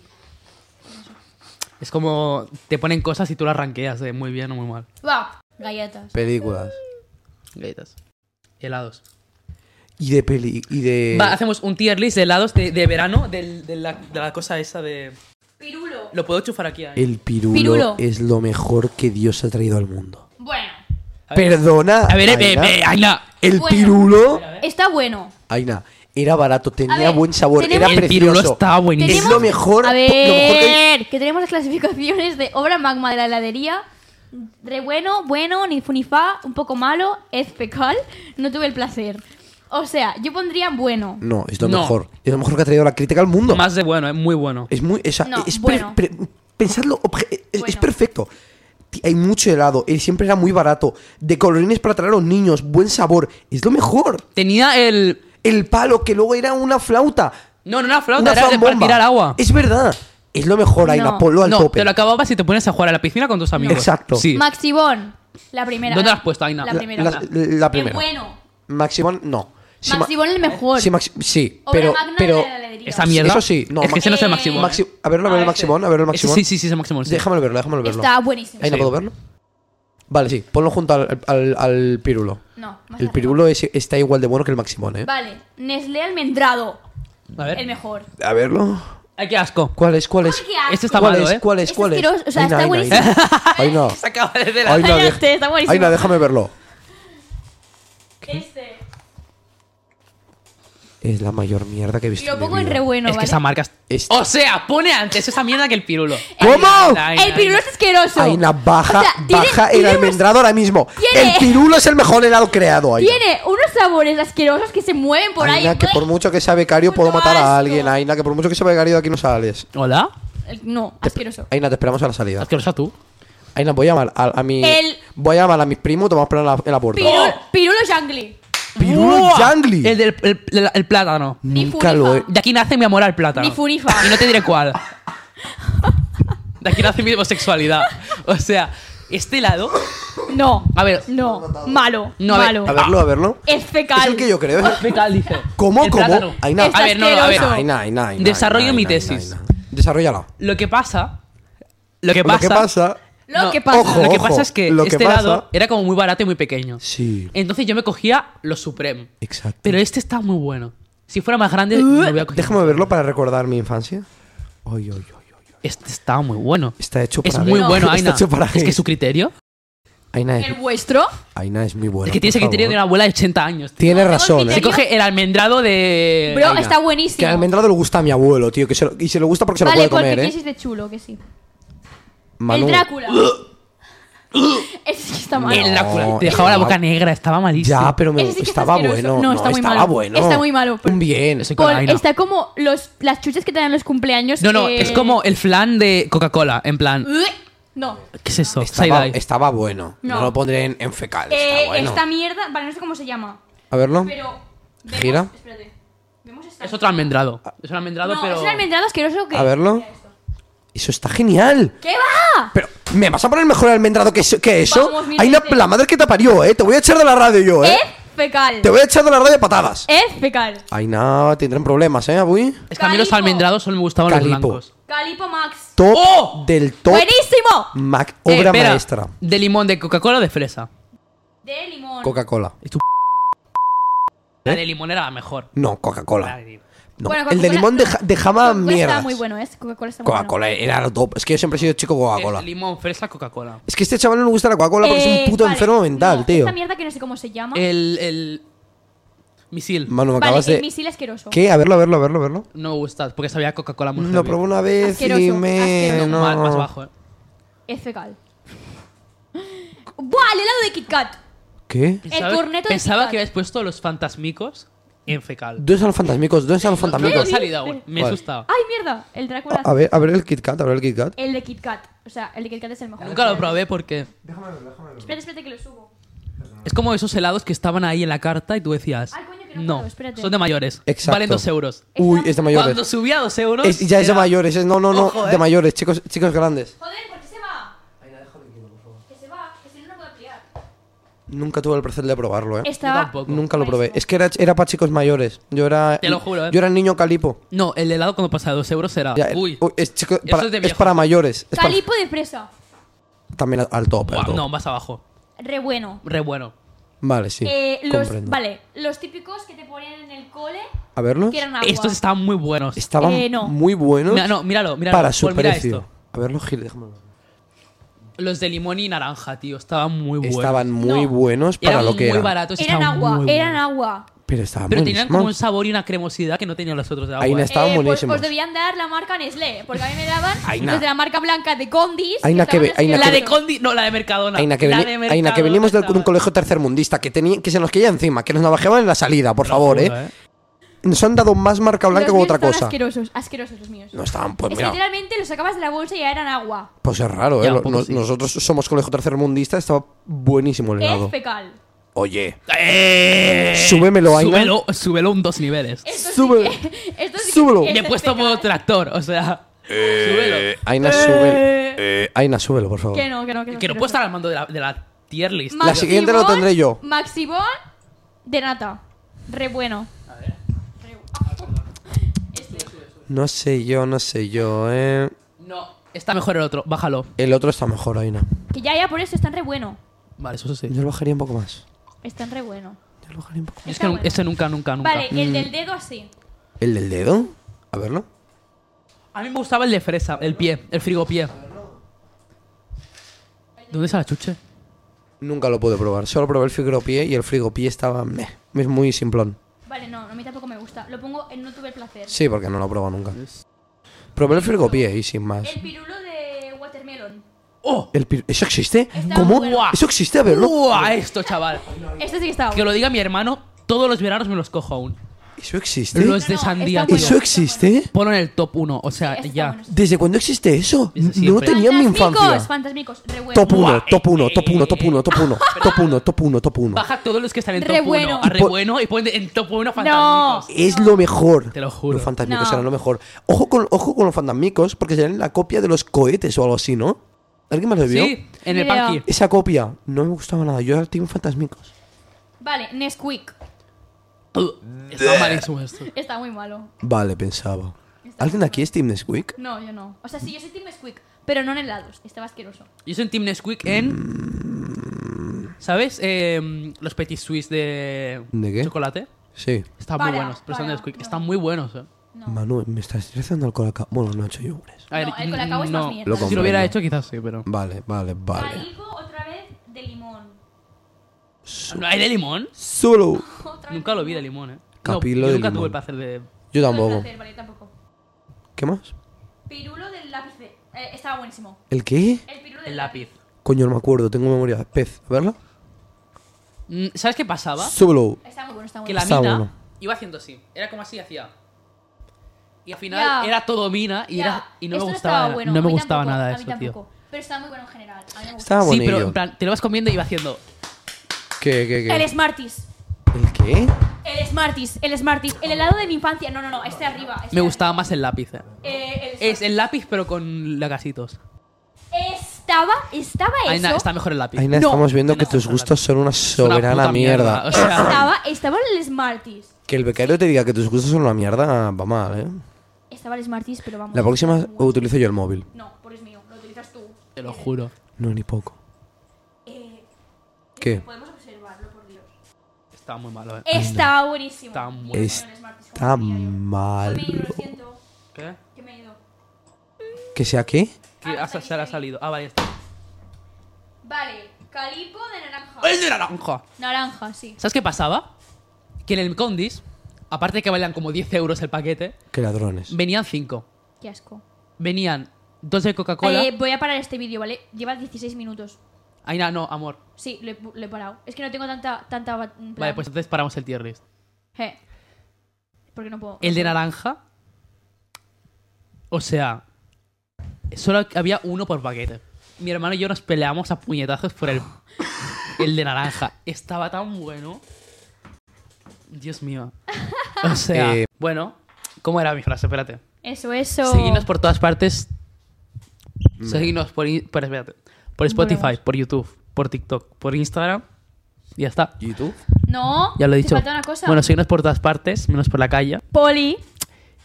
[SPEAKER 1] Es como te ponen cosas y tú las ranqueas de muy bien o muy mal.
[SPEAKER 2] Va, galletas.
[SPEAKER 3] Películas.
[SPEAKER 1] Galletas. Helados.
[SPEAKER 3] Y de peli. Y de.
[SPEAKER 1] Va, hacemos un tier list de helados de, de verano del- de, la, de la cosa esa de...
[SPEAKER 2] Pirulo.
[SPEAKER 1] Lo puedo chufar aquí. ahí.
[SPEAKER 3] El pirulo,
[SPEAKER 2] Pirulo.
[SPEAKER 3] es lo mejor que Dios ha traído al mundo.
[SPEAKER 2] Bueno,
[SPEAKER 1] A ver.
[SPEAKER 3] Perdona.
[SPEAKER 1] A ver, eh,
[SPEAKER 3] Aina,
[SPEAKER 1] eh, eh, Aina.
[SPEAKER 3] El
[SPEAKER 2] Bueno.
[SPEAKER 3] pirulo.
[SPEAKER 2] está bueno.
[SPEAKER 3] Aina, era barato, tenía
[SPEAKER 2] A ver,
[SPEAKER 3] buen sabor,
[SPEAKER 2] tenemos-
[SPEAKER 3] era
[SPEAKER 1] El
[SPEAKER 3] precioso.
[SPEAKER 1] pirulo estaba buenísimo.
[SPEAKER 3] Es lo mejor.
[SPEAKER 2] A
[SPEAKER 3] lo mejor
[SPEAKER 2] ver,
[SPEAKER 3] que-
[SPEAKER 2] que... tenemos las clasificaciones de obra magma de la heladería. Re bueno, bueno, ni fu ni fa, un poco malo, es fecal, no tuve el placer. O sea, yo pondría bueno.
[SPEAKER 3] No, es lo
[SPEAKER 1] No.
[SPEAKER 3] mejor. Es lo mejor que ha traído la crítica al mundo. Eh.
[SPEAKER 1] Más de bueno, es muy bueno.
[SPEAKER 3] Es muy. o sea,
[SPEAKER 2] No,
[SPEAKER 3] es per-
[SPEAKER 2] bueno.
[SPEAKER 3] per- pensadlo, obje- es- es,
[SPEAKER 2] Bueno.
[SPEAKER 3] perfecto. Ti- Hay mucho helado, él siempre era muy barato. De colorines para traer a los niños, buen sabor. Es lo mejor.
[SPEAKER 1] Tenía el...
[SPEAKER 3] El palo que luego era una flauta.
[SPEAKER 1] No, no, una flauta,
[SPEAKER 3] una
[SPEAKER 1] era de para
[SPEAKER 3] zambomba.
[SPEAKER 1] tirar agua.
[SPEAKER 3] Es verdad. Es lo mejor, Aina,
[SPEAKER 2] No.
[SPEAKER 3] ponlo al
[SPEAKER 1] no,
[SPEAKER 3] tope.
[SPEAKER 1] te lo acababas y te pones a jugar a la piscina con tus amigos.
[SPEAKER 3] Exacto.
[SPEAKER 1] Sí.
[SPEAKER 2] Maxibón, la primera.
[SPEAKER 1] ¿Dónde la has puesto, Aina?
[SPEAKER 2] La
[SPEAKER 1] La-
[SPEAKER 2] primera.
[SPEAKER 3] La, la primera.
[SPEAKER 2] Es bueno.
[SPEAKER 3] Maximón, no. Si ma-
[SPEAKER 2] Maxibón el mejor.
[SPEAKER 3] Sí, Maxi- sí,
[SPEAKER 2] Obra
[SPEAKER 3] pero,
[SPEAKER 2] magna
[SPEAKER 3] pero
[SPEAKER 2] de la heladería.
[SPEAKER 1] Esa mierda.
[SPEAKER 3] Eso sí, no,
[SPEAKER 1] Es que ese no es el
[SPEAKER 2] Eh,
[SPEAKER 1] máximo.
[SPEAKER 3] Maxi- a verlo, a
[SPEAKER 2] Ah,
[SPEAKER 3] verlo,
[SPEAKER 2] ese.
[SPEAKER 3] el Maximón, a verlo, el
[SPEAKER 1] Ese
[SPEAKER 3] Maximón.
[SPEAKER 1] Sí, sí, sí, es el máximo. sí.
[SPEAKER 3] Déjamelo verlo, déjamelo verlo.
[SPEAKER 2] Está buenísimo.
[SPEAKER 3] Ahí no
[SPEAKER 1] Sí.
[SPEAKER 3] puedo verlo. Vale, sí, ponlo junto al, al, al pirulo.
[SPEAKER 2] No, más
[SPEAKER 3] El
[SPEAKER 2] arriba.
[SPEAKER 3] pirulo es- está igual de bueno que el Maximón, ¿eh?
[SPEAKER 2] Vale, Nestlé almendrado.
[SPEAKER 1] A ver.
[SPEAKER 2] El mejor.
[SPEAKER 3] A verlo.
[SPEAKER 1] Ay, qué asco.
[SPEAKER 3] ¿Cuál es? ¿Cuál es?
[SPEAKER 2] Ay, qué asco.
[SPEAKER 1] Este está
[SPEAKER 3] ¿Cuál
[SPEAKER 1] malo,
[SPEAKER 3] es?
[SPEAKER 1] ¿eh?
[SPEAKER 3] ¿Cuál es?
[SPEAKER 2] Es
[SPEAKER 3] ¿Cuál es?
[SPEAKER 2] asqueroso, o sea,
[SPEAKER 3] Ay, no,
[SPEAKER 2] está
[SPEAKER 3] ay, no, ay, no. Ay, no.
[SPEAKER 1] Se acaba desde la...
[SPEAKER 3] Ay, no,
[SPEAKER 2] Cállate,
[SPEAKER 3] deja-
[SPEAKER 2] está buenísimo.
[SPEAKER 3] Ay, no, déjame verlo.
[SPEAKER 2] Este.
[SPEAKER 3] Es la mayor mierda que he visto.
[SPEAKER 2] Lo
[SPEAKER 3] en mi
[SPEAKER 2] pongo en
[SPEAKER 3] vida.
[SPEAKER 2] re bueno,
[SPEAKER 1] es que
[SPEAKER 2] ¿vale?
[SPEAKER 1] esa marca... es-
[SPEAKER 3] Es-
[SPEAKER 1] O sea, pone antes esa mierda que el pirulo.
[SPEAKER 3] ¿Cómo?
[SPEAKER 1] Ay, ay,
[SPEAKER 2] El pirulo
[SPEAKER 1] ay.
[SPEAKER 2] es asqueroso.
[SPEAKER 3] Aina, baja,
[SPEAKER 2] O sea, tiene-
[SPEAKER 3] baja
[SPEAKER 2] tiene
[SPEAKER 3] el
[SPEAKER 2] unos-
[SPEAKER 3] almendrado ahora mismo.
[SPEAKER 2] Tiene-
[SPEAKER 3] El pirulo es el mejor helado creado, Aina.
[SPEAKER 2] Tiene unos sabores asquerosos que se mueven por ahí.
[SPEAKER 3] Aina, que por mucho que sea becario puedo
[SPEAKER 2] Puto
[SPEAKER 3] matar
[SPEAKER 2] asco.
[SPEAKER 3] a alguien. Aina, que por mucho que sea becario de aquí no sales.
[SPEAKER 1] ¿Hola?
[SPEAKER 2] El- No, asqueroso.
[SPEAKER 3] Aina, te esperamos a la salida.
[SPEAKER 1] Asquerosa tú.
[SPEAKER 3] Aina, voy a llamar a, a mi...
[SPEAKER 2] El-
[SPEAKER 3] Voy a llamar a mis primos, te vamos a esperar en la, en la puerta.
[SPEAKER 2] Pirulo, pirulo jangli.
[SPEAKER 3] ¡Pirulo
[SPEAKER 1] ¡Buah!
[SPEAKER 3] jangli!
[SPEAKER 1] El del el, el- el plátano.
[SPEAKER 2] Ni
[SPEAKER 3] Nunca lo he...
[SPEAKER 2] funifa.
[SPEAKER 1] De aquí nace mi amor al plátano.
[SPEAKER 2] Ni funifa.
[SPEAKER 1] Y no te diré cuál. De aquí nace mi homosexualidad. O sea, este lado...
[SPEAKER 2] No.
[SPEAKER 1] A ver.
[SPEAKER 2] No. Malo.
[SPEAKER 1] No, a ver,
[SPEAKER 2] malo.
[SPEAKER 3] A verlo, a verlo.
[SPEAKER 2] Es fecal.
[SPEAKER 3] Es el que yo creo. es-
[SPEAKER 1] Fecal, dice.
[SPEAKER 3] ¿Cómo,
[SPEAKER 1] El
[SPEAKER 3] cómo?
[SPEAKER 1] plátano.
[SPEAKER 3] Aina.
[SPEAKER 1] A ver, no, no, a ver.
[SPEAKER 2] Asqueroso.
[SPEAKER 3] Aina, Aina, Aina,
[SPEAKER 1] Desarrollo
[SPEAKER 3] Aina,
[SPEAKER 1] mi
[SPEAKER 3] Aina,
[SPEAKER 1] tesis.
[SPEAKER 3] Aina. Desarrollala.
[SPEAKER 1] Lo que pasa. Lo que
[SPEAKER 3] Lo
[SPEAKER 1] pasa.
[SPEAKER 3] que pasa...
[SPEAKER 2] Lo
[SPEAKER 1] no,
[SPEAKER 2] que pasa.
[SPEAKER 3] ojo.
[SPEAKER 1] lo que pasa es que
[SPEAKER 3] lo que
[SPEAKER 1] este
[SPEAKER 3] pasa-
[SPEAKER 1] lado era como muy barato y muy pequeño.
[SPEAKER 3] Sí,
[SPEAKER 1] Entonces yo me cogía lo Supreme.
[SPEAKER 3] exacto.
[SPEAKER 1] Pero este está muy bueno. Si fuera más grande, me lo hubiera cogido.
[SPEAKER 3] Déjame verlo para recordar mi infancia. Oy, oy, oy, oy.
[SPEAKER 1] Este está muy bueno.
[SPEAKER 3] Está hecho para
[SPEAKER 1] Es muy
[SPEAKER 3] ver.
[SPEAKER 1] bueno,
[SPEAKER 3] Está
[SPEAKER 1] Aina.
[SPEAKER 3] hecho para
[SPEAKER 1] Es que
[SPEAKER 3] ver.
[SPEAKER 1] su criterio.
[SPEAKER 3] Aina,
[SPEAKER 2] El
[SPEAKER 3] es,
[SPEAKER 2] vuestro.
[SPEAKER 3] Aina es muy buena.
[SPEAKER 1] es que tiene
[SPEAKER 3] por
[SPEAKER 1] ese criterio
[SPEAKER 3] favor.
[SPEAKER 1] de una abuela de 80 años. tío.
[SPEAKER 3] Tiene
[SPEAKER 2] No, tengo
[SPEAKER 3] razón,
[SPEAKER 1] Se
[SPEAKER 3] ¿eh?
[SPEAKER 2] criterio.
[SPEAKER 1] coge el almendrado de.
[SPEAKER 2] Bro,
[SPEAKER 3] Aina.
[SPEAKER 2] está
[SPEAKER 3] Que al
[SPEAKER 2] buenísimo.
[SPEAKER 3] almendrado le gusta a mi abuelo, tío. Que se lo, y se lo gusta porque se
[SPEAKER 2] Vale,
[SPEAKER 3] lo puede
[SPEAKER 2] porque
[SPEAKER 3] comer,
[SPEAKER 2] quieres
[SPEAKER 3] ¿eh?
[SPEAKER 2] de chulo, que sí.
[SPEAKER 3] Manu.
[SPEAKER 2] El Drácula. Ese sí está malo.
[SPEAKER 1] El
[SPEAKER 3] No,
[SPEAKER 1] Drácula. Te
[SPEAKER 3] es
[SPEAKER 1] dejaba la
[SPEAKER 3] mal.
[SPEAKER 1] boca negra, estaba malísimo.
[SPEAKER 3] Ya, pero me-
[SPEAKER 2] Ese sí que está
[SPEAKER 3] estaba
[SPEAKER 2] asqueroso.
[SPEAKER 3] bueno.
[SPEAKER 2] No, está muy
[SPEAKER 3] estaba
[SPEAKER 2] malo.
[SPEAKER 3] bueno.
[SPEAKER 2] Está muy malo, pero-
[SPEAKER 3] Un bien.
[SPEAKER 1] Ese-
[SPEAKER 2] Con-
[SPEAKER 1] Ay, no.
[SPEAKER 2] está como los, las chuches que te dan en los cumpleaños.
[SPEAKER 1] No, no,
[SPEAKER 2] que-
[SPEAKER 1] es como el flan de Coca-Cola. En plan,
[SPEAKER 2] Ué, No.
[SPEAKER 1] ¿Qué es eso?
[SPEAKER 3] Estaba,
[SPEAKER 1] Side-eye.
[SPEAKER 3] estaba bueno. No.
[SPEAKER 2] No.
[SPEAKER 3] lo pondré en, en fecal.
[SPEAKER 2] Eh,
[SPEAKER 3] está bueno.
[SPEAKER 2] Esta mierda. Vale, no sé cómo se llama.
[SPEAKER 3] A verlo.
[SPEAKER 2] Pero. vemos-
[SPEAKER 3] Gira.
[SPEAKER 2] Espérate. Vemos esta.
[SPEAKER 1] Es otro almendrado. Es un almendrado,
[SPEAKER 2] No,
[SPEAKER 1] pero.
[SPEAKER 2] es un almendrado asqueroso que.
[SPEAKER 3] A verlo. Eso está genial.
[SPEAKER 2] ¿Qué va?
[SPEAKER 3] Pero, ¿me vas a poner mejor almendrado que eso? Que eso?
[SPEAKER 2] Vamos, este. mil
[SPEAKER 3] Hay una
[SPEAKER 2] veces.
[SPEAKER 3] la madre que te parió, ¿eh? Te voy a echar de la radio yo, ¿eh?
[SPEAKER 2] Es fecal.
[SPEAKER 3] Te voy a echar de la radio a patadas.
[SPEAKER 2] Es fecal.
[SPEAKER 3] Ay, no, tendrán problemas, ¿eh, Abui?
[SPEAKER 1] Es que a mí los
[SPEAKER 2] Calipo.
[SPEAKER 1] almendrados solo me gustaban los
[SPEAKER 3] Calipo.
[SPEAKER 1] blancos.
[SPEAKER 2] Calipo Max.
[SPEAKER 3] Top
[SPEAKER 1] ¡Oh!
[SPEAKER 3] del top.
[SPEAKER 2] ¡Buenísimo!
[SPEAKER 3] Mac-
[SPEAKER 1] Eh,
[SPEAKER 3] obra
[SPEAKER 1] espera,
[SPEAKER 3] maestra.
[SPEAKER 1] ¿De limón, de Coca-Cola o de fresa?
[SPEAKER 2] De limón.
[SPEAKER 3] Coca-Cola. ¿Eh?
[SPEAKER 1] La de limón era la mejor.
[SPEAKER 3] No, Coca-Cola.
[SPEAKER 1] Ay,
[SPEAKER 3] No,
[SPEAKER 2] Bueno,
[SPEAKER 3] el de
[SPEAKER 2] Coca-Cola-
[SPEAKER 3] limón deja, dejaba
[SPEAKER 2] Coca-Cola Está
[SPEAKER 3] mierdas.
[SPEAKER 2] muy bueno, ¿eh? Coca-Cola está muy bueno.
[SPEAKER 3] Coca-Cola era lo top. Es que yo siempre he sido chico Coca-Cola.
[SPEAKER 1] eh, Limón, fresa, Coca-Cola.
[SPEAKER 3] Es que a este chaval no le gusta la Coca-Cola porque es
[SPEAKER 2] Eh,
[SPEAKER 3] un puto
[SPEAKER 2] vale.
[SPEAKER 3] enfermo mental,
[SPEAKER 2] No,
[SPEAKER 3] tío.
[SPEAKER 2] Esta mierda que no sé cómo se llama.
[SPEAKER 1] El. el. Misil.
[SPEAKER 3] Manu, me
[SPEAKER 2] vale,
[SPEAKER 3] acabas
[SPEAKER 2] el
[SPEAKER 3] de.
[SPEAKER 2] misil asqueroso.
[SPEAKER 3] ¿Qué? A verlo, a verlo, a verlo, a verlo.
[SPEAKER 1] No me gusta, porque sabía Coca-Cola muy
[SPEAKER 3] Lo
[SPEAKER 1] heavy.
[SPEAKER 3] probé una vez y
[SPEAKER 2] Asqueroso,
[SPEAKER 3] me.
[SPEAKER 2] asqueroso.
[SPEAKER 3] No.
[SPEAKER 1] Más, más bajo, eh.
[SPEAKER 2] Es fecal. ¡Buah! El helado de Kit Kat.
[SPEAKER 3] ¿Qué?
[SPEAKER 1] Pensaba-
[SPEAKER 2] corneto de
[SPEAKER 1] Pensaba
[SPEAKER 2] Picard.
[SPEAKER 1] que habías puesto los fantasmicos en fecal.
[SPEAKER 3] ¿Dónde están los fantasmicos? ¿Dónde están los
[SPEAKER 1] No me ha
[SPEAKER 3] fantasmicos?
[SPEAKER 1] salido aún. Me he
[SPEAKER 3] Vale.
[SPEAKER 1] asustado.
[SPEAKER 2] ¡Ay, mierda! El Drácula.
[SPEAKER 3] A ver, a ver el Kit Kat, a ver el Kit Kat.
[SPEAKER 2] El de Kit Kat. O sea, el de Kit Kat es el mejor.
[SPEAKER 1] Nunca lo eh. probé porque
[SPEAKER 2] Espérate, espérate que lo subo.
[SPEAKER 1] es como esos helados que estaban ahí en la carta y tú decías,
[SPEAKER 2] Ay, coño, que no
[SPEAKER 1] no,
[SPEAKER 2] puedo, espérate.
[SPEAKER 1] son de mayores,
[SPEAKER 3] Exacto.
[SPEAKER 1] valen dos euros.
[SPEAKER 3] Uy, este es de
[SPEAKER 1] Cuando
[SPEAKER 3] mayores.
[SPEAKER 1] subía a dos euros,
[SPEAKER 3] Es- ya es de
[SPEAKER 1] era-
[SPEAKER 3] mayores, es, no, no, no,
[SPEAKER 1] Ojo, eh.
[SPEAKER 3] de mayores, chicos, chicos grandes.
[SPEAKER 2] Joder, ¿por qué se va? Que se va, que si no, no puedo ampliar.
[SPEAKER 3] Nunca tuve el placer de probarlo, eh.
[SPEAKER 1] Yo
[SPEAKER 2] Estaba.
[SPEAKER 1] tampoco.
[SPEAKER 3] Nunca lo probé. Es que era, era para chicos mayores. Yo era.
[SPEAKER 1] Te lo juro, eh.
[SPEAKER 3] Yo era niño calipo.
[SPEAKER 1] No, el helado cuando pasaba dos euros era,
[SPEAKER 3] Ya,
[SPEAKER 1] uy,
[SPEAKER 3] uy, es, chico- para,
[SPEAKER 1] es de
[SPEAKER 3] es
[SPEAKER 1] viejo.
[SPEAKER 3] para mayores. es para-
[SPEAKER 2] Calipo de fresa.
[SPEAKER 3] también al top. al
[SPEAKER 1] buah,
[SPEAKER 3] top.
[SPEAKER 1] no, más abajo,
[SPEAKER 2] Re bueno.
[SPEAKER 1] re bueno.
[SPEAKER 3] Vale, sí.
[SPEAKER 2] Eh, los,
[SPEAKER 3] comprendo.
[SPEAKER 2] vale, los típicos que te ponían en el cole,
[SPEAKER 3] A verlos.
[SPEAKER 2] que eran agua.
[SPEAKER 1] Estos estaban muy buenos.
[SPEAKER 3] Estaban
[SPEAKER 2] Eh, no.
[SPEAKER 3] muy buenos
[SPEAKER 1] Mira, no, míralo, míralo.
[SPEAKER 3] para
[SPEAKER 1] Paul,
[SPEAKER 3] su
[SPEAKER 1] mira
[SPEAKER 3] precio.
[SPEAKER 1] esto.
[SPEAKER 3] A verlos, Gil, déjame ver.
[SPEAKER 1] Los de limón y naranja, tío, estaban muy buenos.
[SPEAKER 3] Estaban muy
[SPEAKER 2] No.
[SPEAKER 3] buenos
[SPEAKER 1] eran
[SPEAKER 3] para lo que
[SPEAKER 1] muy
[SPEAKER 3] eran.
[SPEAKER 1] baratos,
[SPEAKER 2] eran
[SPEAKER 1] estaban
[SPEAKER 2] agua,
[SPEAKER 1] muy
[SPEAKER 2] eran
[SPEAKER 1] buenos.
[SPEAKER 2] agua.
[SPEAKER 3] Pero estaban
[SPEAKER 1] Pero tenían como un
[SPEAKER 3] buenísimos.
[SPEAKER 1] sabor y una cremosidad que no tenían los otros de agua.
[SPEAKER 3] Ahí
[SPEAKER 1] eh.
[SPEAKER 3] está. Estaban
[SPEAKER 2] pues-
[SPEAKER 3] buenísimos.
[SPEAKER 2] Pues, debían dar la marca Nestlé, porque a mí me daban
[SPEAKER 3] Ay, na.
[SPEAKER 2] los de la marca blanca de Condis.
[SPEAKER 3] Ay, na, que ve- ay, na,
[SPEAKER 1] La
[SPEAKER 3] que
[SPEAKER 1] de Condi, no, la de Mercadona.
[SPEAKER 3] Aina, que,
[SPEAKER 1] La
[SPEAKER 3] veni-
[SPEAKER 1] de
[SPEAKER 3] Aina, que
[SPEAKER 1] Mercadona
[SPEAKER 3] venimos de un
[SPEAKER 1] estaba-
[SPEAKER 3] colegio tercermundista, que, tenía, que se nos caía encima, que nos navajaban en la salida, por
[SPEAKER 1] Te lo
[SPEAKER 3] favor,
[SPEAKER 1] juro,
[SPEAKER 3] ¿eh? Nos han dado más marca blanca
[SPEAKER 2] Los
[SPEAKER 3] que
[SPEAKER 2] míos
[SPEAKER 3] otra
[SPEAKER 2] estaban
[SPEAKER 3] cosa.
[SPEAKER 2] asquerosos, asquerosos los míos.
[SPEAKER 3] No estaban, pues
[SPEAKER 2] es que
[SPEAKER 3] mira,
[SPEAKER 2] literalmente los sacabas de la bolsa y ya eran agua.
[SPEAKER 3] pues es raro, ¿eh?
[SPEAKER 1] Ya,
[SPEAKER 3] Lo-
[SPEAKER 1] un poco
[SPEAKER 3] nos-
[SPEAKER 1] sí.
[SPEAKER 3] Nosotros somos colegio tercermundista, estaba buenísimo el helado.
[SPEAKER 2] Es fecal.
[SPEAKER 3] Oye,
[SPEAKER 1] ¡Eh!
[SPEAKER 3] Súbemelo, Aina.
[SPEAKER 1] Súbelo, súbelo un dos niveles.
[SPEAKER 2] Esto
[SPEAKER 3] Súbelo.
[SPEAKER 2] sí que- esto sí que-
[SPEAKER 3] Súbelo.
[SPEAKER 2] esto
[SPEAKER 1] Le he
[SPEAKER 2] es ¿eh?
[SPEAKER 1] puesto
[SPEAKER 2] fecal.
[SPEAKER 1] modo tractor, o sea. súbelo.
[SPEAKER 3] Aina, sube. eh, Aina, súbelo, por favor.
[SPEAKER 2] Que no, que no, que no.
[SPEAKER 1] Que no puedo estar al mando de la, de la tier list.
[SPEAKER 3] La siguiente lo tendré yo.
[SPEAKER 2] Maxibón de nata. Re bueno.
[SPEAKER 3] No sé yo, no sé yo, ¿eh?
[SPEAKER 1] No, está mejor el otro, bájalo.
[SPEAKER 3] El otro está mejor, Aina.
[SPEAKER 2] Que ya, ya por eso están re bueno.
[SPEAKER 1] Vale, eso sí.
[SPEAKER 3] Yo lo bajaría un poco más.
[SPEAKER 2] Están re bueno.
[SPEAKER 3] Yo lo bajaría un poco
[SPEAKER 1] Es
[SPEAKER 2] Está
[SPEAKER 1] que nu-
[SPEAKER 2] bueno.
[SPEAKER 1] ese nunca, nunca, nunca. Mm.
[SPEAKER 2] Vale, el del dedo así.
[SPEAKER 3] ¿El del dedo? A verlo.
[SPEAKER 1] A mí me gustaba el de fresa, el pie, el frigopié. ¿Dónde está la chuche?
[SPEAKER 3] Nunca lo pude probar. Solo probé el frigopié y el frigopié estaba... meh, es muy simplón.
[SPEAKER 2] Vale, no, a mí tampoco me gusta. Lo pongo en no tuve el placer.
[SPEAKER 3] Sí, porque no lo he probado nunca. Probé el frigopié y sin más.
[SPEAKER 2] El pirulo de watermelon.
[SPEAKER 1] ¡Oh!
[SPEAKER 3] El pir- ¿Eso existe?
[SPEAKER 2] Está
[SPEAKER 3] ¿Cómo?
[SPEAKER 2] muy bueno.
[SPEAKER 3] ¿Eso existe? A verlo.
[SPEAKER 1] ¡Uah! Esto, chaval.
[SPEAKER 2] Este sí que está
[SPEAKER 1] Que
[SPEAKER 2] bueno.
[SPEAKER 1] lo diga mi hermano, todos los veranos me los cojo aún.
[SPEAKER 3] ¿Eso existe?
[SPEAKER 1] Los
[SPEAKER 2] No,
[SPEAKER 1] de
[SPEAKER 2] no,
[SPEAKER 1] sandía,
[SPEAKER 2] está
[SPEAKER 1] tío.
[SPEAKER 2] bueno.
[SPEAKER 3] ¿Eso existe?
[SPEAKER 1] Ponlo en el top 1, o sea,
[SPEAKER 2] Sí, está
[SPEAKER 1] ya.
[SPEAKER 2] bueno, sí.
[SPEAKER 3] ¿Desde cuándo existe eso?
[SPEAKER 1] Desde
[SPEAKER 3] No
[SPEAKER 1] siempre.
[SPEAKER 3] tenía en mi
[SPEAKER 2] Fantasmicos,
[SPEAKER 3] infancia.
[SPEAKER 2] Fantasmicos, re bueno.
[SPEAKER 3] Top 1, top 1, top 1, top 1, top 1, top 1, top 1, top 1.
[SPEAKER 1] Baja todos los que están en
[SPEAKER 2] Re
[SPEAKER 1] top 1
[SPEAKER 2] bueno.
[SPEAKER 1] a re
[SPEAKER 3] Po-
[SPEAKER 1] bueno y pon de- en top 1 fantasmicos.
[SPEAKER 3] Es lo mejor.
[SPEAKER 1] Te lo juro.
[SPEAKER 3] Los fantasmicos
[SPEAKER 2] No.
[SPEAKER 3] eran lo mejor. Ojo con, ojo con los fantasmicos, porque serían la copia de los cohetes o algo así, ¿no? ¿Alguien me lo vio?
[SPEAKER 1] Sí, en el
[SPEAKER 2] Ni idea.
[SPEAKER 1] panqui.
[SPEAKER 3] Esa copia no me gustaba nada. Yo era team fantasmicos.
[SPEAKER 2] Vale, Nesquik.
[SPEAKER 1] Uh, Está malísimo esto.
[SPEAKER 2] Está muy malo.
[SPEAKER 3] Vale, pensaba. ¿Alguien de aquí es team Nesquik?
[SPEAKER 2] No, yo no. O sea, sí, yo soy Team Nesquik, pero no en helados. Estaba asqueroso.
[SPEAKER 1] Yo soy en Team Nesquik en. ¿Sabes? Eh, los Petit Suisse de.
[SPEAKER 3] ¿De qué?
[SPEAKER 1] Chocolate.
[SPEAKER 3] Sí.
[SPEAKER 1] Están
[SPEAKER 2] Para,
[SPEAKER 1] muy buenos, pero están de
[SPEAKER 2] para,
[SPEAKER 1] Nesquik.
[SPEAKER 2] no.
[SPEAKER 1] Están muy buenos, eh.
[SPEAKER 3] Manu, me estás haciendo el colacao. Bueno, no he hecho yogures.
[SPEAKER 1] A
[SPEAKER 2] No, el Colacao es más mierda.
[SPEAKER 3] Lo
[SPEAKER 1] si lo
[SPEAKER 3] comprendo.
[SPEAKER 1] hubiera hecho, quizás sí, pero.
[SPEAKER 3] Vale, vale, vale.
[SPEAKER 2] Calipo otra vez de limón.
[SPEAKER 1] ¿No ¿Hay de limón?
[SPEAKER 3] Solo.
[SPEAKER 2] Otra vez
[SPEAKER 1] Nunca
[SPEAKER 2] de
[SPEAKER 1] lo vi de
[SPEAKER 2] limón.
[SPEAKER 1] limón, eh.
[SPEAKER 3] Capilo
[SPEAKER 1] no, yo
[SPEAKER 3] de
[SPEAKER 1] nunca
[SPEAKER 3] limón.
[SPEAKER 1] tuve el placer de.
[SPEAKER 3] Yo
[SPEAKER 2] No tuve
[SPEAKER 3] tampoco.
[SPEAKER 2] placer, vale, tampoco.
[SPEAKER 3] ¿Qué más?
[SPEAKER 2] Pirulo del lápiz. de- eh, estaba buenísimo.
[SPEAKER 3] ¿El qué?
[SPEAKER 2] El pirulo del
[SPEAKER 1] El lápiz.
[SPEAKER 3] Coño, no me acuerdo. Tengo memoria de pez. ¿A verlo?
[SPEAKER 1] Mm, ¿Sabes qué pasaba?
[SPEAKER 3] Solo.
[SPEAKER 2] Está muy bueno, está muy
[SPEAKER 1] Que
[SPEAKER 2] bueno.
[SPEAKER 1] la
[SPEAKER 3] Está
[SPEAKER 1] mina
[SPEAKER 3] bueno.
[SPEAKER 1] iba haciendo así. Era como así, hacía. Y al final
[SPEAKER 2] Ya.
[SPEAKER 1] era todo mina y,
[SPEAKER 2] Ya,
[SPEAKER 1] era, y no me
[SPEAKER 2] esto
[SPEAKER 1] gustaba,
[SPEAKER 2] estaba
[SPEAKER 1] na-
[SPEAKER 2] bueno,
[SPEAKER 1] no
[SPEAKER 2] a
[SPEAKER 1] me
[SPEAKER 2] mí
[SPEAKER 1] gustaba
[SPEAKER 2] tampoco,
[SPEAKER 1] nada
[SPEAKER 2] a mí
[SPEAKER 1] eso, tío.
[SPEAKER 2] tampoco. Pero está muy bueno en general. A mí me gusta.
[SPEAKER 3] Estaba
[SPEAKER 1] sí,
[SPEAKER 3] bonito.
[SPEAKER 1] pero en plan, te lo vas comiendo y va haciendo.
[SPEAKER 3] ¿Qué, qué, qué?
[SPEAKER 2] El Smarties.
[SPEAKER 3] ¿El qué?
[SPEAKER 2] El Smarties. El Smarties. El helado de mi infancia. No, no, no. Este arriba. este
[SPEAKER 1] Me
[SPEAKER 2] arriba.
[SPEAKER 1] gustaba más el lápiz. eh.
[SPEAKER 2] Eh, el
[SPEAKER 1] Es el lápiz, pero con lagasitos.
[SPEAKER 2] Estaba, estaba eso.
[SPEAKER 1] Aina, está mejor el lápiz.
[SPEAKER 3] Aina,
[SPEAKER 2] No,
[SPEAKER 3] estamos viendo que
[SPEAKER 1] no,
[SPEAKER 3] tus
[SPEAKER 1] no,
[SPEAKER 3] gustos son una
[SPEAKER 1] Es una
[SPEAKER 3] soberana
[SPEAKER 1] puta
[SPEAKER 3] mierda.
[SPEAKER 1] O sea,
[SPEAKER 2] Estaba, estaba el Smarties.
[SPEAKER 3] Que el becario te diga que tus gustos son una mierda, va mal, ¿eh?
[SPEAKER 2] Estaba el Smarties, pero vamos.
[SPEAKER 3] La próxima
[SPEAKER 2] Muy bueno.
[SPEAKER 3] utilizo yo el móvil.
[SPEAKER 2] No, por es mío. Lo utilizas tú.
[SPEAKER 1] te lo juro.
[SPEAKER 3] No, ni poco.
[SPEAKER 2] Eh,
[SPEAKER 3] ¿Qué?
[SPEAKER 2] podemos observarlo, por Dios.
[SPEAKER 1] Estaba muy malo, eh.
[SPEAKER 2] Está buenísimo.
[SPEAKER 1] Está muy
[SPEAKER 2] Y el
[SPEAKER 3] bueno.
[SPEAKER 2] Smarties,
[SPEAKER 3] Está
[SPEAKER 2] como diría yo.
[SPEAKER 3] mal.
[SPEAKER 2] Que me he ido, lo siento.
[SPEAKER 1] ¿Qué?
[SPEAKER 2] Que me he ido.
[SPEAKER 3] ¿Que sea qué?
[SPEAKER 1] ¿Qué?
[SPEAKER 2] Ah,
[SPEAKER 1] Ah, se
[SPEAKER 2] está
[SPEAKER 1] le ha
[SPEAKER 2] ahí.
[SPEAKER 1] salido. Ah, vale, ya está.
[SPEAKER 2] Vale, calipo de naranja.
[SPEAKER 1] ¡Es de naranja!
[SPEAKER 2] Naranja, sí.
[SPEAKER 1] ¿Sabes qué pasaba? Que en el Condis, aparte de que valían como 10 euros el paquete,
[SPEAKER 3] Que ladrones.
[SPEAKER 1] venían 5.
[SPEAKER 2] Qué asco.
[SPEAKER 1] Venían dos de Coca-Cola.
[SPEAKER 2] Eh, voy a parar este vídeo, ¿vale? Lleva 16 minutos.
[SPEAKER 1] Aina, no, amor.
[SPEAKER 2] Sí, lo he, lo he parado. Es que no tengo tanta. tanta va- en plan-
[SPEAKER 1] Vale, pues entonces paramos el tier list.
[SPEAKER 2] Eh. Porque no puedo.
[SPEAKER 1] El de naranja. O sea, solo había uno por paquete. Mi hermano y yo nos peleamos a puñetazos por el, el de naranja. Estaba tan bueno. Dios mío. O sea,
[SPEAKER 3] Eh,
[SPEAKER 1] bueno, ¿cómo era mi frase? Espérate.
[SPEAKER 2] Eso, eso.
[SPEAKER 1] Seguidnos por todas partes. Mm. Seguidnos por, in- por- espérate, por Spotify,
[SPEAKER 2] Volvemos.
[SPEAKER 1] por YouTube, por TikTok, por Instagram. Y ya está.
[SPEAKER 3] ¿Y tú?
[SPEAKER 2] No.
[SPEAKER 1] Ya lo he
[SPEAKER 2] te
[SPEAKER 1] dicho.
[SPEAKER 2] falta una cosa.
[SPEAKER 1] Bueno, seguidnos por todas partes, menos por la calle.
[SPEAKER 2] Poli.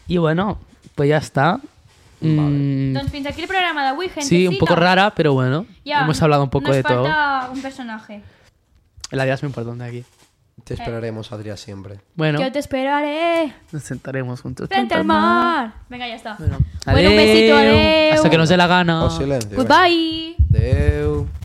[SPEAKER 1] Y bueno, pues ya está. Mm,
[SPEAKER 2] Entonces, fins aquí el programa d'avui, gente.
[SPEAKER 1] sí, un poco rara, pero bueno. hemos hablado un poco de
[SPEAKER 2] Nos
[SPEAKER 1] todo.
[SPEAKER 2] falta un personaje.
[SPEAKER 1] La idea es muy importante aquí.
[SPEAKER 3] Te esperaremos, Adrián, siempre.
[SPEAKER 1] Bueno,
[SPEAKER 2] Yo te esperaré
[SPEAKER 1] nos sentaremos juntos.
[SPEAKER 2] frente al mar. Venga, ya está.
[SPEAKER 1] Bueno,
[SPEAKER 2] Bueno, un besito,
[SPEAKER 1] adeu.
[SPEAKER 2] adeu.
[SPEAKER 1] Ah. Hasta que nos dé Oh, la gana.
[SPEAKER 3] O silencio.
[SPEAKER 2] Goodbye.
[SPEAKER 3] Adeu.